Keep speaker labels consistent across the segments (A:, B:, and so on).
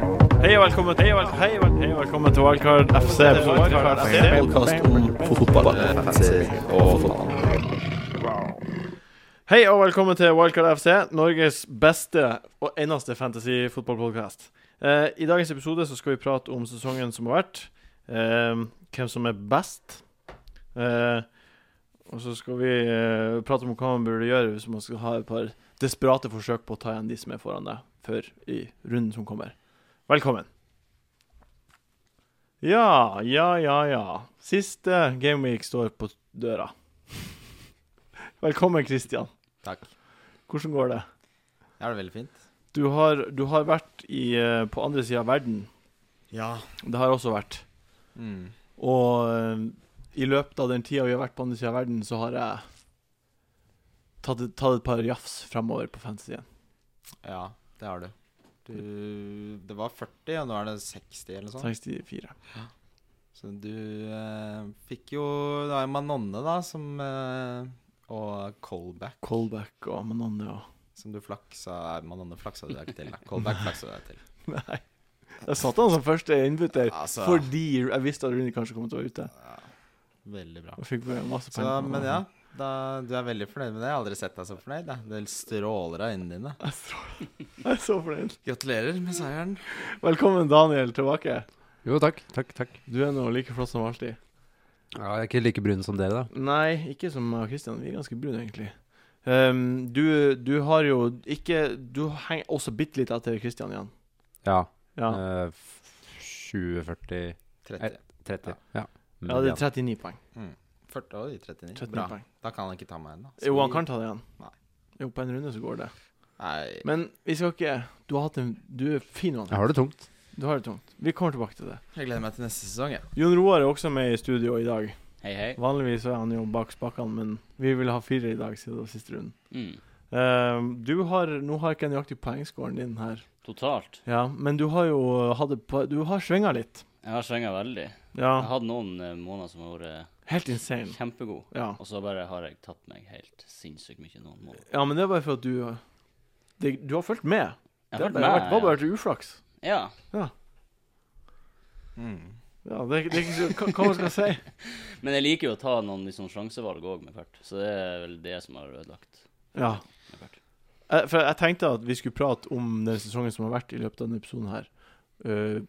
A: og velkommen til vel- Hei og vel- hei og velkommen til Wildcard FC. Wildcard FC.
B: Podkast om fotball, fantasy og fotball.
A: Hei og velkommen til Wildcard FC, Norges beste og eneste fantasy-fotballpodkast. Eh, I dagens episode så skal vi prate om sesongen som har vært, eh, hvem som er best. Eh, og så skal vi eh, prate om hva man burde gjøre hvis man skal ha et par desperate forsøk på å ta igjen de som er foran deg, før i runden som kommer. Velkommen. Ja, ja, ja, ja. Siste Gameweek står på døra. Velkommen, Christian.
B: Takk.
A: Hvordan går det?
B: Det er det veldig fint.
A: Du har, du har vært i, eh, på andre sida av verden.
B: Ja.
A: Det har jeg også vært.
B: Mm.
A: Og eh, i løpet av den tida vi har vært på andre sida av verden, så har jeg tatt, et- tatt et par jafs fremover på fantasyen.
B: Ja, det har du. du. Det var 40, og nå er det 60 eller noe sånt.
A: 64.
B: Så du eh, fikk jo Det var jo Manonne, da, som eh, Og Colback,
A: Colback og Manonne og
B: som du flaksa nei, Manonne flaksa du deg ikke til. da. Colback flaksa du deg til.
A: Nei. Jeg satte han som første innbytter
B: Altså.
A: fordi jeg visste at Rune kanskje kom til å være ute.
B: Ja, veldig bra.
A: Og fikk masse
B: Så,
A: poeng. på
B: men
A: Manonne.
B: ja, da, du er veldig fornøyd med det. Jeg har aldri sett deg så fornøyd. Da. Det stråler av øynene dine.
A: Jeg er så- jeg er så fornøyd.
B: Gratulerer med seieren.
A: Velkommen, Daniel, tilbake.
C: Jo, takk. takk, takk.
A: Du er nå like flott som alltid.
C: Ja, jeg er ikke like brun som dere, da.
A: Nei, ikke som meg og Christian. Vi er ganske brune, egentlig. Ehm, du, du har jo ikke Du henger også bitte litt etter Christian igjen.
C: Ja.
A: Ja,
C: eh, f- 20, 40,
B: 30.
C: 30. Ja.
A: ja det er 39 poeng.
B: Mm. 40 og 39.
A: 39
B: Bra.
A: poeng.
B: Da kan han ikke ta meg ennå.
A: Jo, han kan ta det igjen.
B: Nei.
A: Jo, på en runde så går det.
B: Nei.
A: Men vi skal ikke Du har hatt en Du er fin, Johan.
C: Jeg har det tungt.
A: Du har det tungt. Vi kommer tilbake til det.
B: Jeg gleder meg til neste sesong, jeg.
A: Jon Roar er også med i studio i dag.
D: Hei, hei.
A: Vanligvis er han jo bak spakene, men vi ville ha fire i dag siden det var siste runden.
D: Mm.
A: Ehm, du har Nå har jeg ikke nøyaktig poengscoren din her,
D: Totalt.
A: Ja, men du har jo hatt et par Du har svinga litt.
D: Jeg har svinga veldig. Jeg
A: Ja. Mm.
D: hadde noen eh, måneder som har vært
A: Helt insane.
D: kjempegod,
A: Ja.
D: og så bare har jeg tatt meg helt sinnssykt mye noen måneder.
A: ja, men det er bare for at du det, Du har fulgt med.
D: Jeg
A: det har
D: har vært
A: bare vært, bare
D: med.
A: vært uflaks.
D: Ja.
A: Ja, det, er- det er ikke så hva- Hva man skal si?
D: ja. Men jeg liker jo å ta noen liksom, sjansevalg òg med hvert, så det er vel det som har ødelagt.
A: Ja.
D: med hvert.
A: Jeg, for jeg tenkte at vi skulle prate om den sesongen som har vært i løpet av denne episoden her. Eh,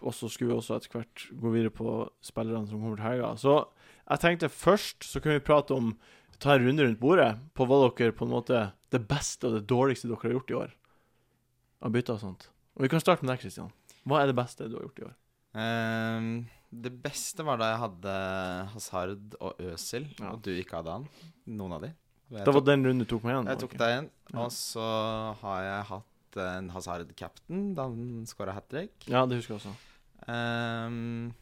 A: og så skulle vi også etter hvert gå videre på spillerne som kommer til helga. Så jeg tenkte først så kunne vi prate om Ta en runde rundt bordet på hva dere på en måte Det beste og det dårligste dere har gjort i år. Av bytter og sånt. Og vi kan starte med deg, Kristian. Hva er det beste du har gjort i år?
B: Ehm, det beste var da jeg hadde Hazard og Øsil,
A: Ja.
B: og du ikke hadde han. Noen av de. Jeg
A: Det var
B: tok,
A: den runden du tok meg igjen?
B: jeg tok deg igjen. Og så har jeg hatt en Hazard-captain da han skåra hat trick.
A: Ja, det husker jeg også.
B: Ehm,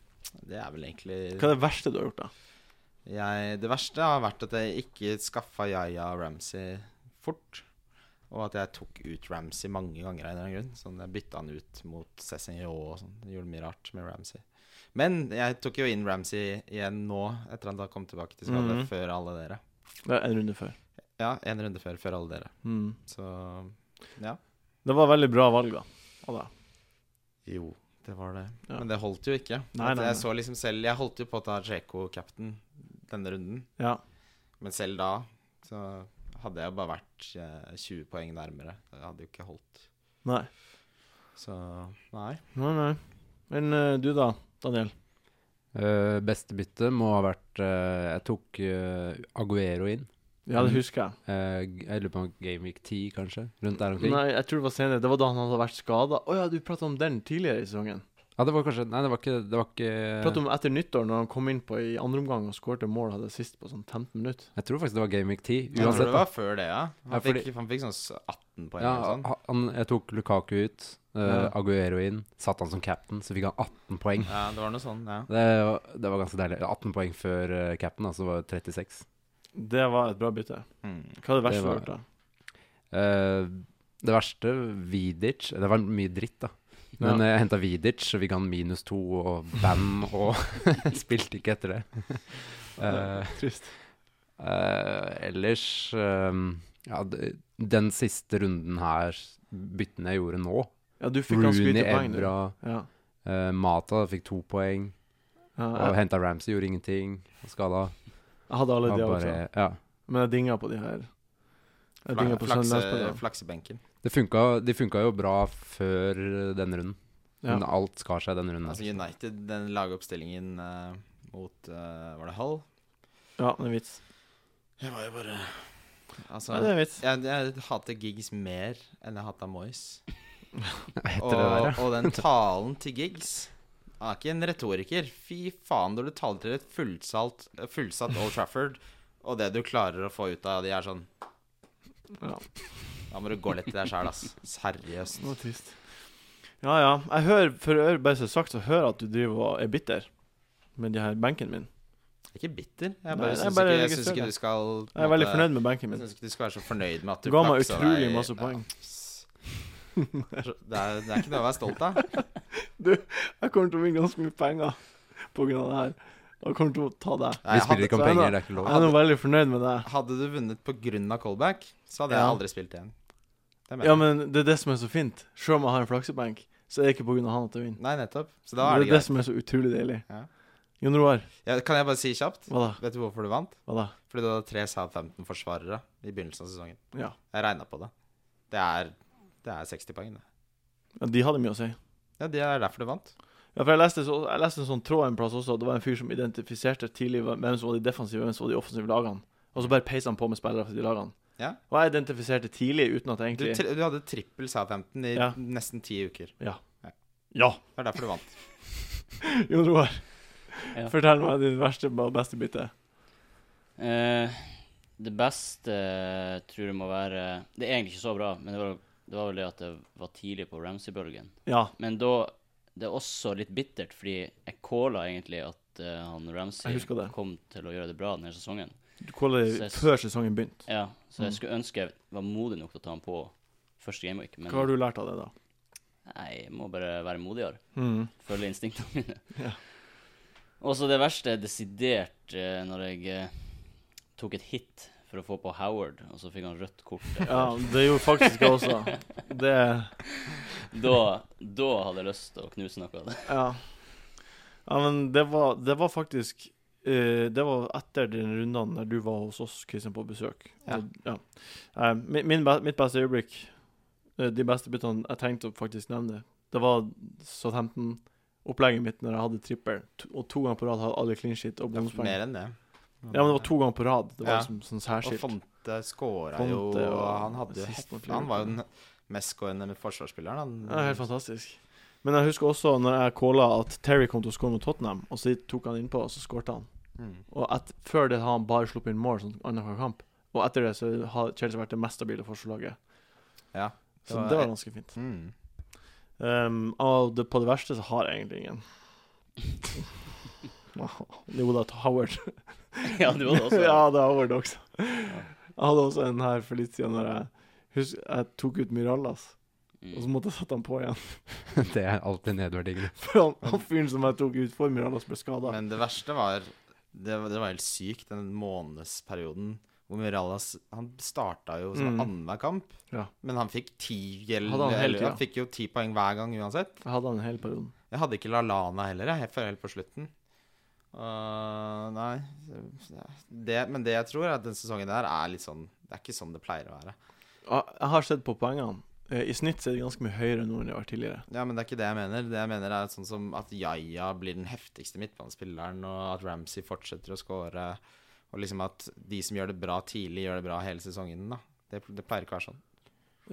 B: det er vel egentlig
A: Hva er det verste du har gjort, da?
B: Jeg, det verste har vært at jeg ikke skaffa Yaya og Ramsey fort. Og at jeg tok ut Ramsey mange ganger av en eller annen grunn. Sånn, Jeg bytta han ut mot Cézinho og sånn. Jeg Gjorde mye rart med Ramsey. Men jeg tok jo inn Ramsey igjen nå, etter at han kom tilbake til skade,
A: Mhm.
B: før alle dere.
A: Det er en runde før.
B: Ja, en runde før, før alle dere.
A: Mm.
B: Så
A: Det var veldig bra valg, da. Av deg.
B: jo, det var det.
A: Ja.
B: Men det holdt jo ikke.
A: Nei,
B: At
A: nei,
B: jeg
A: nei.
B: så liksom selv Jeg holdt jo på å ta Jeko captain denne runden.
A: Ja.
B: Men selv da så hadde jeg bare vært eh, 20 poeng nærmere. Det hadde jo ikke holdt.
A: Nei.
B: Så nei.
A: Nei, nei. Men eh, du, da, Daniel?
C: Eh, beste bytte må ha vært eh, Jeg tok eh, Aguero inn.
A: Ja, det
C: Mm.
A: husker jeg.
C: Eh, jeg lurer på om Game Week 10, kanskje? Rundt der omkring.
A: Nei, jeg tror det var senere. Det var da han hadde vært skada. Å ja, du prata om den tidligere i sesongen.
C: Ja, det var kanskje Nei, det var ikke, det var
A: Prata
C: ikke
A: om etter nyttår, når han kom inn på i andre omgang og skårte mål, hadde sist på sånn 15 minutter.
C: Jeg tror faktisk det var Game Week 10.
B: Jeg tror
C: Uansett,
B: det
C: da.
B: var før det, ja. Han,
C: Ja, fordi-
B: fikk, han fikk sånn s- 18 poeng
C: Ja,
B: eller sånn. noe sånt.
C: han, jeg tok Lukaku ut, eh,
A: Ja.
C: Aguero inn, satte han som cap'n, så fikk han 18 poeng.
B: Ja, det var noe sånn, ja.
C: Det, det var ganske deilig. 18 poeng før uh, capen, altså var det 36.
A: Det var et bra bytte.
B: Mm.
A: Hva er det verste du
C: Det var-
A: har gjort, da?
C: Eh, det verste, Vidic Det var mye dritt, da. Men eh,
A: Ja.
C: jeg henta Vidic, så fikk han minus to og band, og spilte ikke etter det. Eh,
A: Trist.
C: eh, ellers ehm, eh, Ja, d- den siste runden her, byttene jeg gjorde nå,
A: Ja, du fikk ganske
C: Rooney,
A: lite poeng, du.
C: Evra,
A: Ja.
C: eh, Mata fikk to poeng.
A: Ja,
C: Og
A: jeg,
C: henta Ramsey, gjorde ingenting. Og skada.
A: jeg hadde alle
C: Var
A: de også,
C: bare, ja.
A: men jeg dinga på de her. Jeg dinga på sånn,
B: Flakse-
A: Sandnes.
B: Flaksebenken.
C: Det funka, de funka jo bra før eh, denne runden.
A: Ja.
C: Men alt skar seg denne runden.
B: Altså United, den lagoppstillingen eh, mot eh, Var det Hull?
A: Ja, det er en vits.
B: Det var jo bare Altså
A: Ja, det er en vits.
B: jeg, jeg hater Giggs mer enn jeg hata Moyes.
C: Etter
B: Og,
C: det der, ja.
B: og den talen til Giggs Han er ikke en retoriker. Fy faen, når du taler til et fullsalt, fullsatt Old Trafford, og det du klarer å få ut av de er sånn
A: Ja.
B: Da må du gå litt i deg sjæl, ass. Seriøst.
A: Det var trist. Ja, ja. Jeg hører, for å bare så sagt, så hører jeg at du driver og er bitter med de her benken min.
B: Jeg er ikke bitter. Jeg
A: Nei,
B: bare
A: jeg
B: syns
A: bare
B: ikke, jeg
A: registrerer
B: synes ikke
A: det.
B: du skal på
A: Jeg
B: en
A: er veldig
B: måte-
A: fornøyd med benken
B: Jeg
A: min.
B: syns ikke du skal være så fornøyd med at du
A: Du ga meg
B: flaksa
A: utrolig
B: deg-
A: masse
B: Ja.
A: poeng.
B: Det er, det er ikke noe å være stolt av.
A: Jeg kommer til å vinne ganske mye penger på grunn av det her. Og jeg kommer til å ta deg.
B: Nei, jeg
C: Vi spiller
B: hadde,
C: ikke om
A: så er
C: penger,
A: det-
C: det er ikke lov.
A: Jeg er nå veldig fornøyd med deg.
B: hadde du vunnet pga. callback, så hadde jeg
A: Ja.
B: aldri spilt igjen. Det mener
A: Ja,
B: jeg.
A: men det er det som er så fint. Selv om jeg har en flaksebenk, så er det ikke på grunn av han at jeg vinner.
B: Nei, nettopp. Så
A: Det
B: da er
A: er
B: det
A: det
B: greit.
A: som er så utrolig deilig.
B: Ja.
A: Jon Roar,
B: Ja, kan jeg bare si kjapt?
A: hva da?
B: Vet du hvorfor du vant?
A: Hva da?
B: Fordi du hadde tre Southampton-forsvarere i begynnelsen av sesongen.
A: Ja.
B: Jeg regna på det. Det er, det er 60 poeng, det.
A: ja de hadde mye å si.
B: Ja, det er derfor du vant.
A: Ja, for jeg leste, så, jeg leste en sånn tråd en plass også, at det var en fyr som identifiserte tidlig hva- hvem som var de defensive og hvem som var de offensive lagene. Og så bare peisa han på med spillere fra de lagene.
B: Ja.
A: Og jeg identifiserte tidlig uten at jeg
B: Du,
A: egentlig
B: tri du hadde trippel Southampton i
A: Ja.
B: nesten ti uker.
A: Ja!
B: Det er derfor du vant.
A: Jon Roar,
D: Ja.
A: fortell meg din verste og beste bytte.
D: Eh, det beste eh, tror jeg må være Det er egentlig ikke så bra, men det var, det var vel det at det var tidlig på Ramsey-bølgen.
A: Ja.
D: Men da Det er også litt bittert, fordi jeg calla egentlig at eh, han
A: Jeg
D: Ramsey
A: husker det.
D: kom til å gjøre det bra denne sesongen.
A: Du kaller
D: Så
A: det
D: jeg-
A: før sesongen begynte.
D: Ja,
A: Mm.
D: så jeg skulle ønske jeg var modig nok til å ta han på første gameweek, men
A: Hva har du lært av det, da?
D: nei, jeg må bare være modigere.
A: Mm.
D: Følge instinktene mine.
A: Ja.
D: Og så det verste er desidert eh, når jeg eh, tok et hit for å få på Howard, og så fikk han rødt kort.
A: Ja, det gjorde faktisk jeg også. Det
D: Da, da hadde jeg lyst til å knuse noe av det.
A: Ja. ja men det var, det var faktisk eh, Det var etter den runden der du var hos oss, Kristian, på besøk.
B: Ja.
A: Og, ja. Eh, min, min, be- mitt beste øyeblikk, eh, de beste byttene jeg tenkte å faktisk nevne, det var Southampton-opplegget mitt når jeg hadde trippel, to- og to ganger på rad hadde alle clean shit og
B: Det er
A: bonuspoeng.
B: mer enn det.
A: Ja, men det var to ganger på rad. Det var
B: Ja.
A: liksom sånn
B: Og
A: særskilt.
B: Fonte skåra
A: Fonte
B: jo og
A: og
B: Han hadde jo
A: assist
B: heft-
A: mot
B: Han var jo
A: Liverpool.
B: den mest skårende med forsvarsspilleren. Han,
A: Ja, helt fantastisk. Men jeg husker også når jeg calla at Terry kom til å skåre mot Tottenham, og så tok han innpå, og så skårte han.
B: Mm.
A: Og at før det har han bare sluppet inn mål sånn annenhver kamp. Og etter det så har Chelsea vært det mest stabile forsvarslaget.
B: Ja.
A: Så det var ganske fint.
B: mm.
A: Um, og det, på det verste så har jeg egentlig ingen. Jo da, til Howard.
D: Ja, du hadde også
A: ja, det er Howard også. Jeg hadde også en her for litt siden når jeg Husk, jeg tok ut Mirallas, og så
D: Mm.
A: måtte jeg sette han på igjen.
C: Det er alltid nedverdigende.
A: For han, han fyren som jeg tok ut for Mirallas, ble skada.
B: Men det verste var Det, var- det var helt sykt, den månedsperioden hvor Mirallas Han starta jo som
A: Mm.
B: annenhver kamp,
A: Ja.
B: men han fikk ti eller,
A: Hadde han hele
B: eller,
A: tida?
B: Han fikk jo ti poeng hver gang uansett.
A: Jeg hadde han hele perioden.
B: Jeg hadde ikke LaLana heller, jeg, før helt på slutten. Øh, nei det, Men det jeg tror, er at den sesongen der er litt sånn Det er ikke sånn det pleier å være.
A: Ja, Jeg har sett på poengene. Eh, I snitt så er de ganske mye høyere nå enn de har vært tidligere.
B: Ja, men det er ikke det jeg mener. Det jeg mener er sånn som at Yaya blir den heftigste midtbanespilleren, og at Ramsey fortsetter å skåre. Og liksom at de som gjør det bra tidlig, gjør det bra hele sesongen. da. Det, det pleier ikke å være sånn.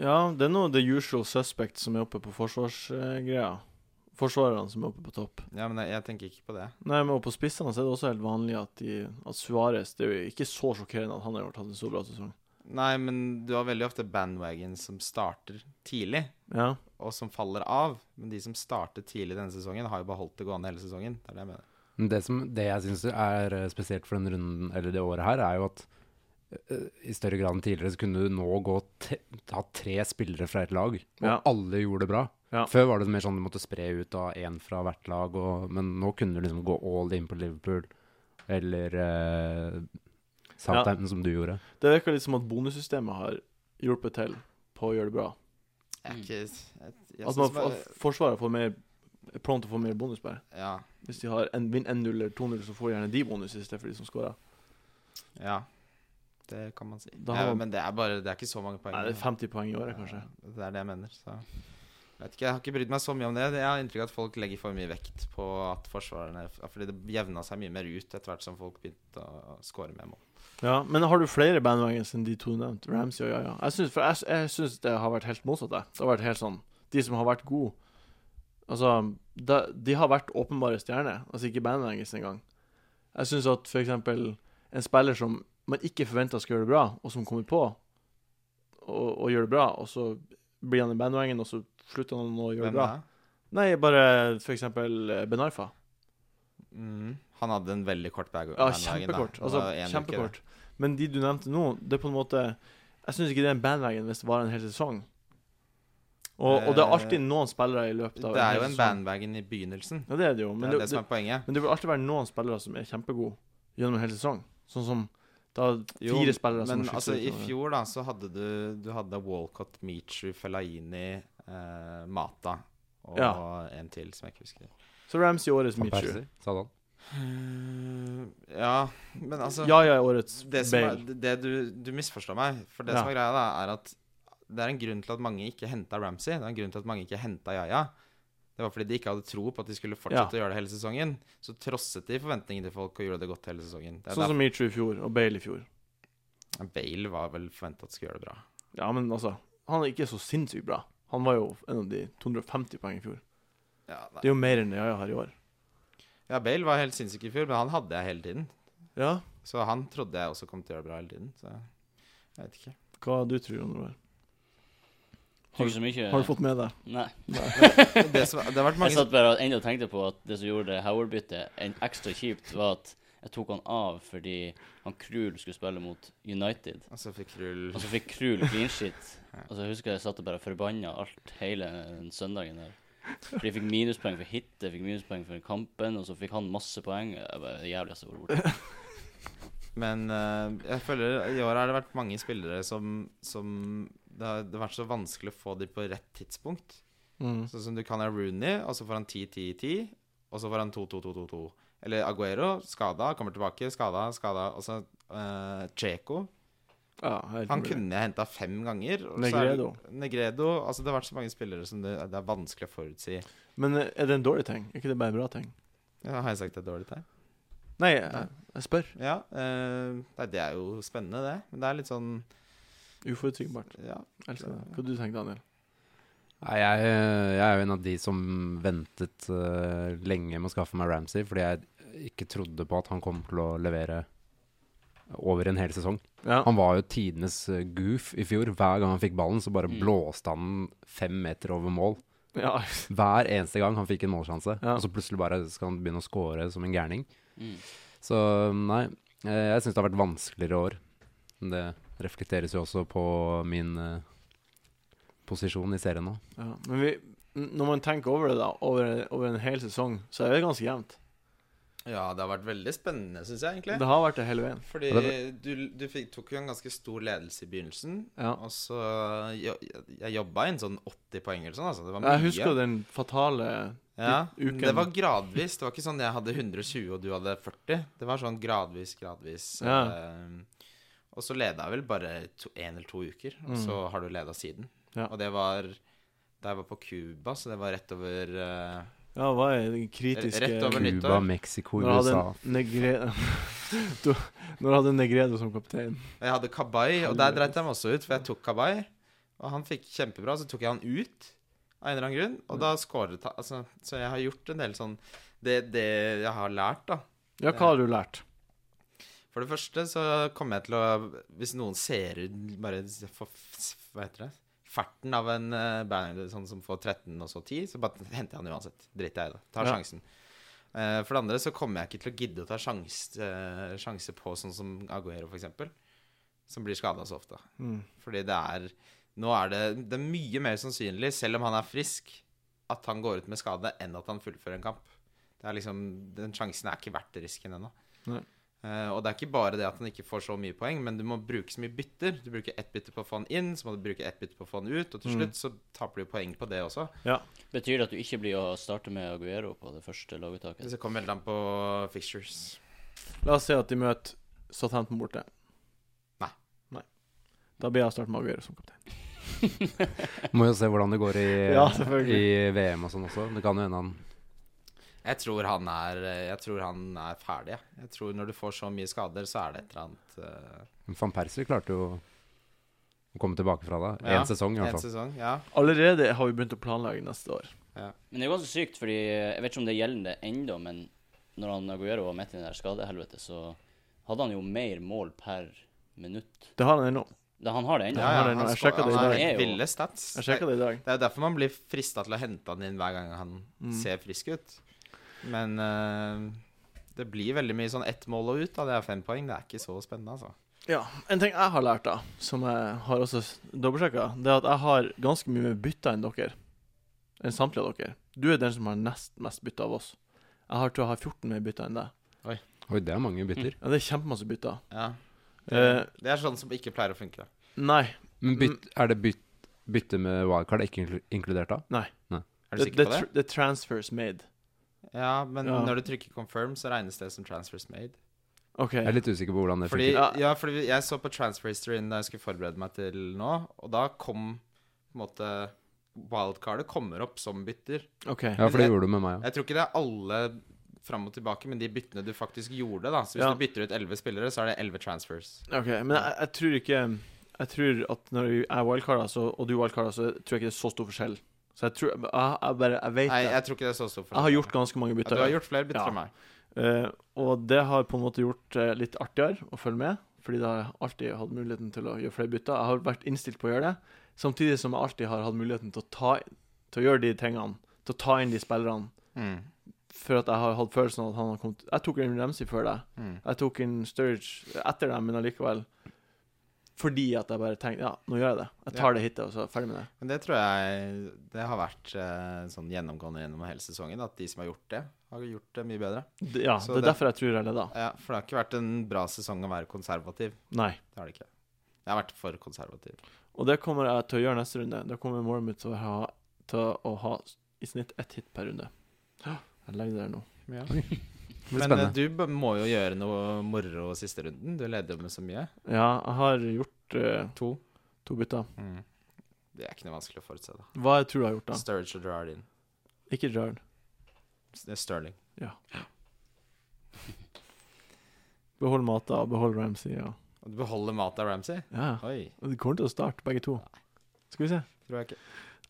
A: Ja, det er noe the usual suspect som er oppe på forsvarsgreia. Forsvarerne som er oppe på topp.
B: Ja, men jeg, jeg tenker ikke på det.
A: Nei, men oppe på spissene så er det også helt vanlig at, de, at Suarez Det er jo ikke så sjokkerende at han har hatt en så bra sesong.
B: Nei, men du har veldig ofte bandwagon som starter tidlig,
A: Ja.
B: og som faller av. Men de som startet tidlig denne sesongen, har jo beholdt det gående hele sesongen. Det er det jeg mener.
C: Men det, som, det jeg syns er eh, spesielt for den runden, eller det året her, er jo at eh, i større grad enn tidligere så kunne du nå gå te ta tre spillere fra et lag, og
A: Ja.
C: alle gjorde det bra.
A: Ja.
C: Før var det mer sånn du måtte spre ut av én fra hvert lag, og, men nå kunne du liksom gå all in på Liverpool eller eh, Southampton, som du gjorde.
A: Det virker litt som at bonussystemet har hjulpet til på å gjøre det bra.
B: Jeg er
D: Mm.
B: ikke jeg, jeg
A: At,
B: synes
A: man,
B: bare,
A: at Forsvaret får mer er prone til å få mer bonus, bare.
B: Ja.
A: Hvis de har en, vinner 1-0 eller 2-0, så får gjerne de bonus istedenfor de som scorer.
B: ja. Det kan man si.
A: Da har
B: ja,
A: man-
B: men det er bare Det er ikke så mange poeng.
A: Nei, det er
B: da.
A: 50 poeng i året, kanskje.
B: Ja, det er det jeg mener. Så jeg vet ikke, jeg har ikke brydd meg så mye om det. Jeg har inntrykk av at folk legger for mye vekt på at forsvarerne Fordi det jevna seg mye mer ut etter hvert som folk begynte å score med mål.
A: Ja, Men har du flere bandwagons enn de to nevnte? Ramsey og Yaya? Jeg syns, for jeg, jeg syns det har vært helt motsatt. jeg. Det har vært helt sånn De som har vært gode Altså, de, de har vært åpenbare stjerner. Altså ikke bandwagons engang. Jeg syns at for eksempel en spiller som man ikke forventa skal gjøre det bra, og som kommer på og, og gjør det bra, og så blir han en bandwagon, og så slutter han å gjøre det
B: Hvem
A: bra.
B: da?
A: Nei, bare for eksempel eh, Ben Arfa.
B: Mm. Han hadde en veldig kort bag.
A: Ja,
B: bandwagon, da.
A: kjempekort.
B: Det
A: Altså,
B: var en uke,
A: kjempekort. Men de du nevnte nå, det er på en måte Jeg syns ikke det er en bandwagon hvis det varer en hel sesong. Og, og det er alltid noen spillere i løpet
B: Eh, Det
A: av
B: Det er jo
A: hel
B: en
A: sesong.
B: bandwagon i begynnelsen.
A: sånn- Ja, det er det jo.
B: Det
A: Men
B: er
A: det,
B: det, som
A: det,
B: er poenget.
A: men det vil alltid være noen spillere som er kjempegode gjennom en hel sesong. Sånn som da
B: Jo,
A: fire spillere som
B: Men
A: har
B: altså,
A: skiftet
B: i
A: ut av det.
B: fjor da så hadde du Du hadde Walcott, Michu, Fellaini, eh, Mata og
A: Ja.
B: en til som jeg ikke husker.
A: Så Ramsey årets
C: Van
A: Mitchu.
C: Persie, sa han.
B: Eh, Ja, men altså
A: Ja, ja, årets
B: det som er,
A: Bale.
B: det du, du misforstår meg. For det
A: Ja.
B: som er greia, da, er at det er en grunn til at mange ikke henta Ramsey. Det er en grunn til at mange ikke henta Yaya. Det var fordi de ikke hadde tro på at de skulle fortsette
A: Ja.
B: å gjøre det hele sesongen. Så trosset de forventningene til folk og gjorde det godt hele sesongen. Det er
A: Sånn som Mitchu i fjor, og Bale i fjor.
B: derfor- Bale var vel forventa at skulle gjøre det bra.
A: Ja, men altså Han er ikke så sinnssykt bra. Han var jo en av de 250 poeng i fjor.
B: Ja,
A: Det er jo mer enn det jeg har i år.
B: ja, Bale var helt sinnssyk i fjor, men han hadde jeg hele tiden.
A: Ja,
B: Så han trodde jeg også kom til å gjøre det bra hele tiden. Så jeg vet ikke.
A: Hva du tror Jon Roar?
D: Tror ikke så mye
A: Har du fått med deg?
D: Nei.
B: Det, som, det har vært
D: Jeg
B: mange
D: satt bare og enda tenkte på at det som gjorde Howard-byttet en ekstra kjipt, var at jeg tok han av fordi han Krul skulle spille mot United.
B: Og så fikk Rull
D: Og så fikk Krul clean shit. Og så husker jeg jeg satt og bare forbanna alt hele den søndagen der. For de fikk minuspoeng for hitet, fikk minuspoeng for kampen, og så fikk han masse poeng. Jeg bare, det jævligste jeg har vært borte.
B: Men eh, jeg føler i år har det vært mange spillere som, som det, har, det har vært så vanskelig å få dem på rett tidspunkt.
A: Mm.
B: Sånn som du kan ha Rooney, og så får han 10-10-10, og så får han 2-2-2-2-2. Eller Aguero, skada, kommer tilbake, skada, skada. Og så eh, Dzeko.
A: Ja, helt
B: Han
A: mulig.
B: kunne jeg henta fem ganger. og så er det-
A: Negredo.
B: Negredo. Altså, det har vært så mange spillere som det, det er vanskelig å forutsi.
A: Men eh, er det en dårlig ting? Er ikke det bare en bra ting?
B: Ja, har jeg sagt det er dårlig tegn?
A: Nei, jeg, jeg spør.
B: Ja. eh, nei, det er jo spennende, det. Men det er litt sånn
A: Uforutsigbart.
B: Ja.
A: Jeg Elsker det. Hva du tenker Daniel?
C: Nei, jeg, jeg er jo en av de som ventet eh, lenge med å skaffe meg Ramsey, fordi jeg ikke trodde på at han kom til å levere over en hel sesong.
A: Ja.
C: Han var jo tidenes eh, goof i fjor. Hver gang han fikk ballen, så bare
D: Mm.
C: blåste han den fem meter over mål.
A: ja.
C: Hver eneste gang han fikk en målsjanse.
A: Ja.
C: Og så plutselig bare skal han begynne å score som en gærning.
D: Mm.
C: Så nei, eh, jeg syns det har vært vanskeligere år. Men det reflekteres jo også på min eh, posisjon i serien nå.
A: ja. Men vi, n- når man tenker over det, da, over, over en hel sesong, så er det ganske jevnt.
B: Ja, det har vært veldig spennende, syns jeg egentlig.
A: Det har vært det hele veien.
B: Fordi
C: Ja,
B: du, du fikk, tok jo en ganske stor ledelse i begynnelsen.
A: Ja.
B: Og så jo, Jeg jobba inn sånn 80 poeng eller sånn, altså. Det var mye.
A: Jeg husker den fatale
B: ja.
A: uken.
B: Det var gradvis. Det var ikke sånn jeg hadde 120 og du hadde 40. Det var sånn gradvis, gradvis.
A: Ja.
B: eh, og så leda jeg vel bare én eller to uker, og
A: Mm.
B: så har du leda siden.
A: Ja.
B: Og det var da jeg var på Cuba, så det var rett over eh,
A: Ja, hva er den kritiske
B: Rett over nytt.
C: Cuba,
B: nyttår.
C: Mexico,
A: Når jeg
C: USA.
A: hadde Negredo Du- Når jeg hadde Negredo som kaptein.
B: Jeg hadde Kabay, og der dreit jeg meg også ut, for jeg tok Kabay. Og han fikk kjempebra, så tok jeg han ut av en eller annen grunn, og da skåret han. Altså, så jeg har gjort en del sånn det, det jeg har lært, da.
A: Ja, hva har du lært?
B: For det første så kommer jeg til å Hvis noen ser ut bare for, Hva heter det? Farten av en eh, band sånn som får 13 og så 10, så bare henter jeg han uansett. Driter jeg i det. Tar
A: Ja.
B: sjansen. Eh, for det andre så kommer jeg ikke til å gidde å ta sjans, eh, sjanse på sånn som Aguero, for eksempel som blir skada så ofte.
A: Mm.
B: Fordi det er Nå er det, det er mye mer sannsynlig, selv om han er frisk, at han går ut med skade, enn at han fullfører en kamp. Det er liksom, Den sjansen er ikke verdt risken ennå.
A: Nei.
B: Eh, og det er ikke bare det at han ikke får så mye poeng, men du må bruke så mye bytter. Du bruker ett bytte på å få han inn, så må du bruke ett bytte på å få han ut, og til
A: Mm.
B: slutt så taper du jo poeng på det også.
D: Betyr det at du ikke blir å starte med Aguero på det første laguttaket?
B: Så kommer veldig an på fixtures.
A: La oss si at de møter Southampton borte.
B: Nei.
A: Nei. Da blir jeg å starte med Aguero som kaptein.
C: Må jo se hvordan det går i,
A: Ja, selvfølgelig.
C: i VM og sånn også. Det kan jo hende han
B: Jeg tror han er, jeg tror han er ferdig. jeg. Jeg tror når du får så mye skader, så er det et eller annet eh,
C: Van Persie klarte jo å komme tilbake fra det. Én
B: Ja,
C: sesong, i
B: en
C: hvert fall.
B: sesong. Ja.
A: Allerede har vi begynt å planlegge neste år.
D: Men det er jo ganske sykt, fordi jeg vet ikke om det gjelder det ennå, men når han Aguero var midt i det der skadehelvetet, så hadde han jo mer mål per minutt.
A: Det har han ennå.
D: Da han har det ennå.
A: Ja, ja. jeg
B: sko-
A: sjekket det i
B: han har
D: dag.
B: helt
D: Det er jo-
B: ville stats.
A: Jeg sjekka det i dag.
B: Det er jo derfor man blir frista til å hente han inn hver gang han
A: Mm.
B: ser frisk ut. Men eh, det blir veldig mye sånn ett mål og ut. Da. Det er fem poeng. Det er ikke så spennende, altså.
A: Ja, En ting jeg har lært, da, som jeg har også dobbeltsjekka, det er at jeg har ganske mye mer bytter enn dere. Enn samtlige av dere. Du er den som har nest mest bytter av oss. Jeg har, tror jeg har 14 mer bytter enn deg.
C: Oi, det er mange bytter.
A: Ja, Det er kjempemasse bytter.
B: Ja. Det,
A: Eh,
B: det er sånn som ikke pleier å funke. Da.
A: nei,
B: Mm.
C: Men byt, er det byt, bytte med wildcard ikke inklu- inkludert da?
B: Er du
A: det,
B: sikker
A: det,
B: på det?
A: tr- det er transfers made.
B: Ja, men
A: Ja.
B: når du trykker confirm, så regnes det som transfers made.
A: OK.
C: Jeg er litt usikker på hvordan det
B: Fordi,
C: funker.
A: funker.
B: ja, fordi jeg så på transfer historien da jeg skulle forberede meg til nå, og da kom på en måte Wildcardet kommer opp som bytter.
A: ok
C: Ja, for det gjorde du med meg òg.
B: Jeg tror ikke det er alle fram og tilbake, men de byttene du faktisk gjorde, da. Så hvis
A: Ja.
B: du bytter ut elleve spillere, så er det elleve transfers.
A: Ok, men jeg, jeg tror ikke Jeg tror at når jeg er wildcarda, så, og du er wildcarda, så tror jeg ikke det er så stor forskjell. Så jeg tror Jeg, jeg bare Jeg vet
B: Nei,
A: det.
B: jeg tror ikke det er så stor
A: Jeg har gjort ganske mange
B: Ja, du
A: bytter.
B: har gjort flere bytter
A: Ja.
B: enn meg.
A: Eh, og det har på en måte gjort det litt artigere å følge med, fordi da har jeg alltid hatt muligheten til å gjøre flere bytter. Jeg har vært innstilt på å gjøre det, samtidig som jeg alltid har hatt muligheten til å, ta, til å gjøre de tingene, til å ta inn de spillerne,
B: Mm.
A: for at jeg har hatt følelsen av at han har kommet Jeg tok inn Ramsey før deg,
B: Mm.
A: jeg tok inn Sturridge etter dem, men allikevel fordi at jeg bare tenkte ja, nå gjør jeg det. Jeg tar
B: Ja.
A: det hit, og så er jeg ferdig med det.
B: Men det tror jeg det har vært eh, sånn gjennomgående gjennom hele sesongen, at de som har gjort det, har gjort det mye bedre.
A: D- Ja,
B: Så
A: det er
B: det-
A: derfor jeg tror jeg leda.
B: Ja, for det har ikke vært en bra sesong å være konservativ.
A: Nei.
B: Det har det ikke. Jeg har vært for konservativ.
A: Og det kommer jeg til å gjøre neste runde. Da kommer målet mitt til å ha, til å ha i snitt ett hit per runde. Ja, Jeg legger det der nå.
C: Det blir
B: Men eh,
C: spennende.
B: du b- må jo gjøre noe moro siste runden. Du leder jo med så mye.
A: Ja, jeg har gjort eh,
B: To.
A: to bytter.
B: Mm. Det er ikke noe vanskelig å forutse, da.
A: Hva jeg tror jeg har gjort, da?
B: Sturridge og Gerrard inn.
A: Ikke Jarn.
B: S- det er Sterling.
A: Behold Mata og behold Ramsey. Ja.
B: Og du beholder Mata Ramsey?
A: ja.
B: Oi,
A: De kommer til å starte, begge to. Skal vi se.
B: tror jeg ikke.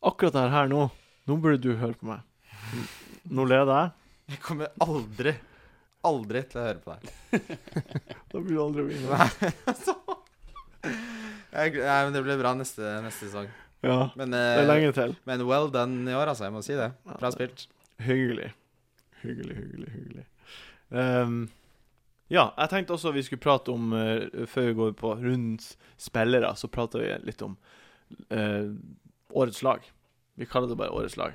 A: Akkurat det her nå, nå burde du høre på meg. Nå leder jeg.
B: Jeg kommer aldri, aldri til å høre på deg.
A: Da blir du aldri å vinne.
B: Jeg, nei, men det blir bra neste, neste sesong.
A: Ja,
B: Men,
A: det er
B: eh,
A: lenge til.
B: men well done i år, altså. Jeg må si det.
A: Ja,
B: Bra
A: det-
B: spilt.
A: Hyggelig. Hyggelig, hyggelig, hyggelig. Ehm, ja, jeg tenkte også vi skulle prate om, eh, før vi går på rundens spillere, så prater vi litt om eh, årets lag. Vi kaller det bare årets lag.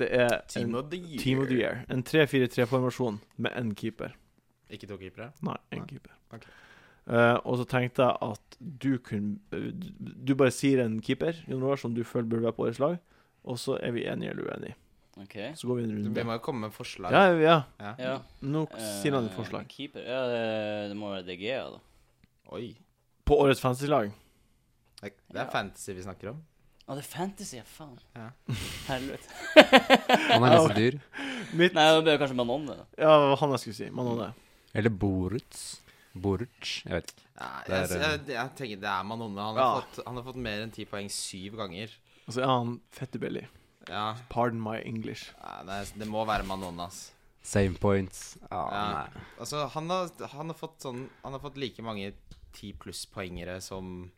A: Det er en
B: of the year.
A: Team of the Year. En 3-4-3-formasjon med én keeper.
B: Ikke to keepere?
A: Nei, én
B: Nei,
A: keeper.
B: ok.
A: Eh, og så tenkte jeg at du kunne eh, Du bare sier en keeper Jon Roar, som du føler burde være på årets lag, og så er vi enige eller uenige.
D: OK.
A: Så går vi en
B: Vi
A: runde.
B: må jo komme med forslag.
A: Ja, ja,
B: Ja.
D: Ja.
A: Nå sier han et
D: Eh,
A: forslag.
D: Keeper Ja, det- det må være DG, da.
B: Oi.
A: På årets fantasy-lag?
B: Det det er
D: Ja.
B: fantasy vi snakker om.
D: Å, det er fantasy, ja, faen.
B: Ja.
D: Helvete.
C: Han er nesten dyr.
A: Mitt
D: Nei, det blir kanskje Manone, da.
A: Ja, hva var han jeg skulle si. Manone.
C: Eller Boruts. Boruc. Jeg vet ikke.
B: Nei,
C: Det er,
B: jeg, jeg, jeg tenker det er Manone. Han har,
A: Ja.
B: fått, han har fått mer enn ti poeng syv ganger.
A: Og så Altså, er han fette billig.
B: Ja,
A: Pardon my English.
B: Nei, det, er, det må være Manone, ass.
C: Same points. Ja,
B: Ja.
C: nei.
B: Altså, han har, han har fått sånn Han har fått like mange ti pluss-poengere som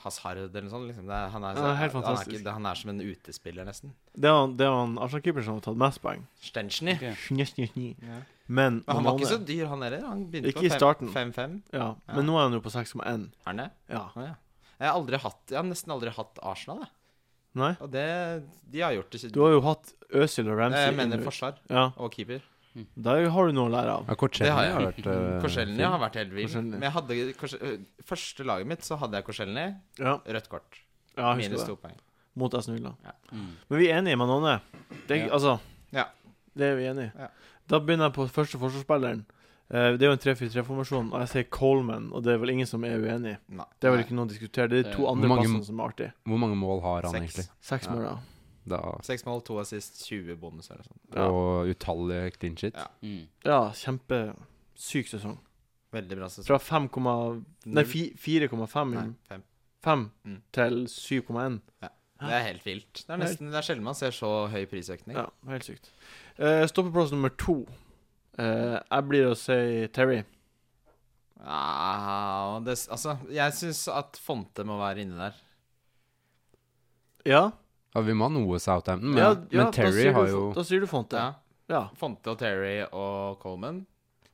B: Hazard eller noe sånt. Liksom. Det, er- han,
A: Ja,
B: er,
A: det er helt
B: han, er
A: fantastisk.
B: ikke, det- han er som en utespiller, nesten.
A: Det er han, det er han Arsenal-keeperen som har tatt mest poeng.
B: Stenchny.
D: Ok.
A: Snj, snj, snj.
B: Ja.
A: Men
B: Men han var ikke så
A: Manone-
B: dyr, han heller. Han begynte
A: Ikke i starten.
B: på fem- 5-5.
A: Ja,
B: Ja.
A: Men nå er han jo på 6,1.
B: Er han det?
A: Ja.
B: Å, ja. Jeg har aldri hatt Jeg har nesten aldri hatt Arsenal, jeg.
A: Nei?
B: Og det De har gjort det
A: Du har jo hatt Øzil og
B: Nei,
A: Ramsey
B: Jeg mener
A: inn-
B: forsvar
A: Ja.
B: og keeper.
A: Der har du noe å lære av.
C: Ja, Kortsjelny
B: Det har jeg.
C: har vært eh,
B: Korselny
C: fin.
B: har vært helt vill.
A: Korselny.
B: Men jeg hadde, Korse- øh, første laget mitt så hadde jeg Korselny.
A: Ja,
B: Rødt kort.
A: ja jeg
B: Minus
A: husker det.
B: to poeng.
A: Mot Aston Villa.
D: Mm.
A: Men vi er enige med Nanne. Det er,
B: Ja.
A: Altså,
B: Ja.
A: det er vi enige i.
B: Ja.
A: Da begynner jeg på første forsvarsspilleren. Eh, det er jo en 3-4-3-formasjon, og jeg sier Coleman, og det er vel ingen som er uenig.
B: Nei.
A: Det er vel ikke noe å diskutere. Det er de to
D: Hvor
A: andre
C: mange-
A: passene som er artig.
C: Hvor mange mål har han
B: Seks.
C: egentlig?
A: Seks
B: Ja.
A: mål, ja.
C: Da,
B: Seks mål, to assist, 20 bonus eller sånn.
A: Ja.
C: Og utallige clean shit.
B: Ja.
D: Mm.
A: Ja, kjempesyk sesong.
B: Veldig bra sesong.
A: Fra 5, nei fi- 4,5
B: Nei, fem.
A: fem
B: Mm.
A: til 7,1.
B: Det er helt vilt. Det er nesten Det er sjelden man ser så høy prisøkning.
A: Ja, helt sykt. Eh, stoppeplass nummer to. Eh, jeg blir å si Terry.
B: Ah, det, altså, jeg syns at Fonte må være inne der.
A: Ja,
C: Ja, vi må ha noe Southampton, men,
A: ja, ja
C: men Terry
A: da sier
C: har
A: du,
C: jo
A: Da sier du Fonte.
B: Ja.
A: Ja. ja.
B: Fonte og Terry og Coleman.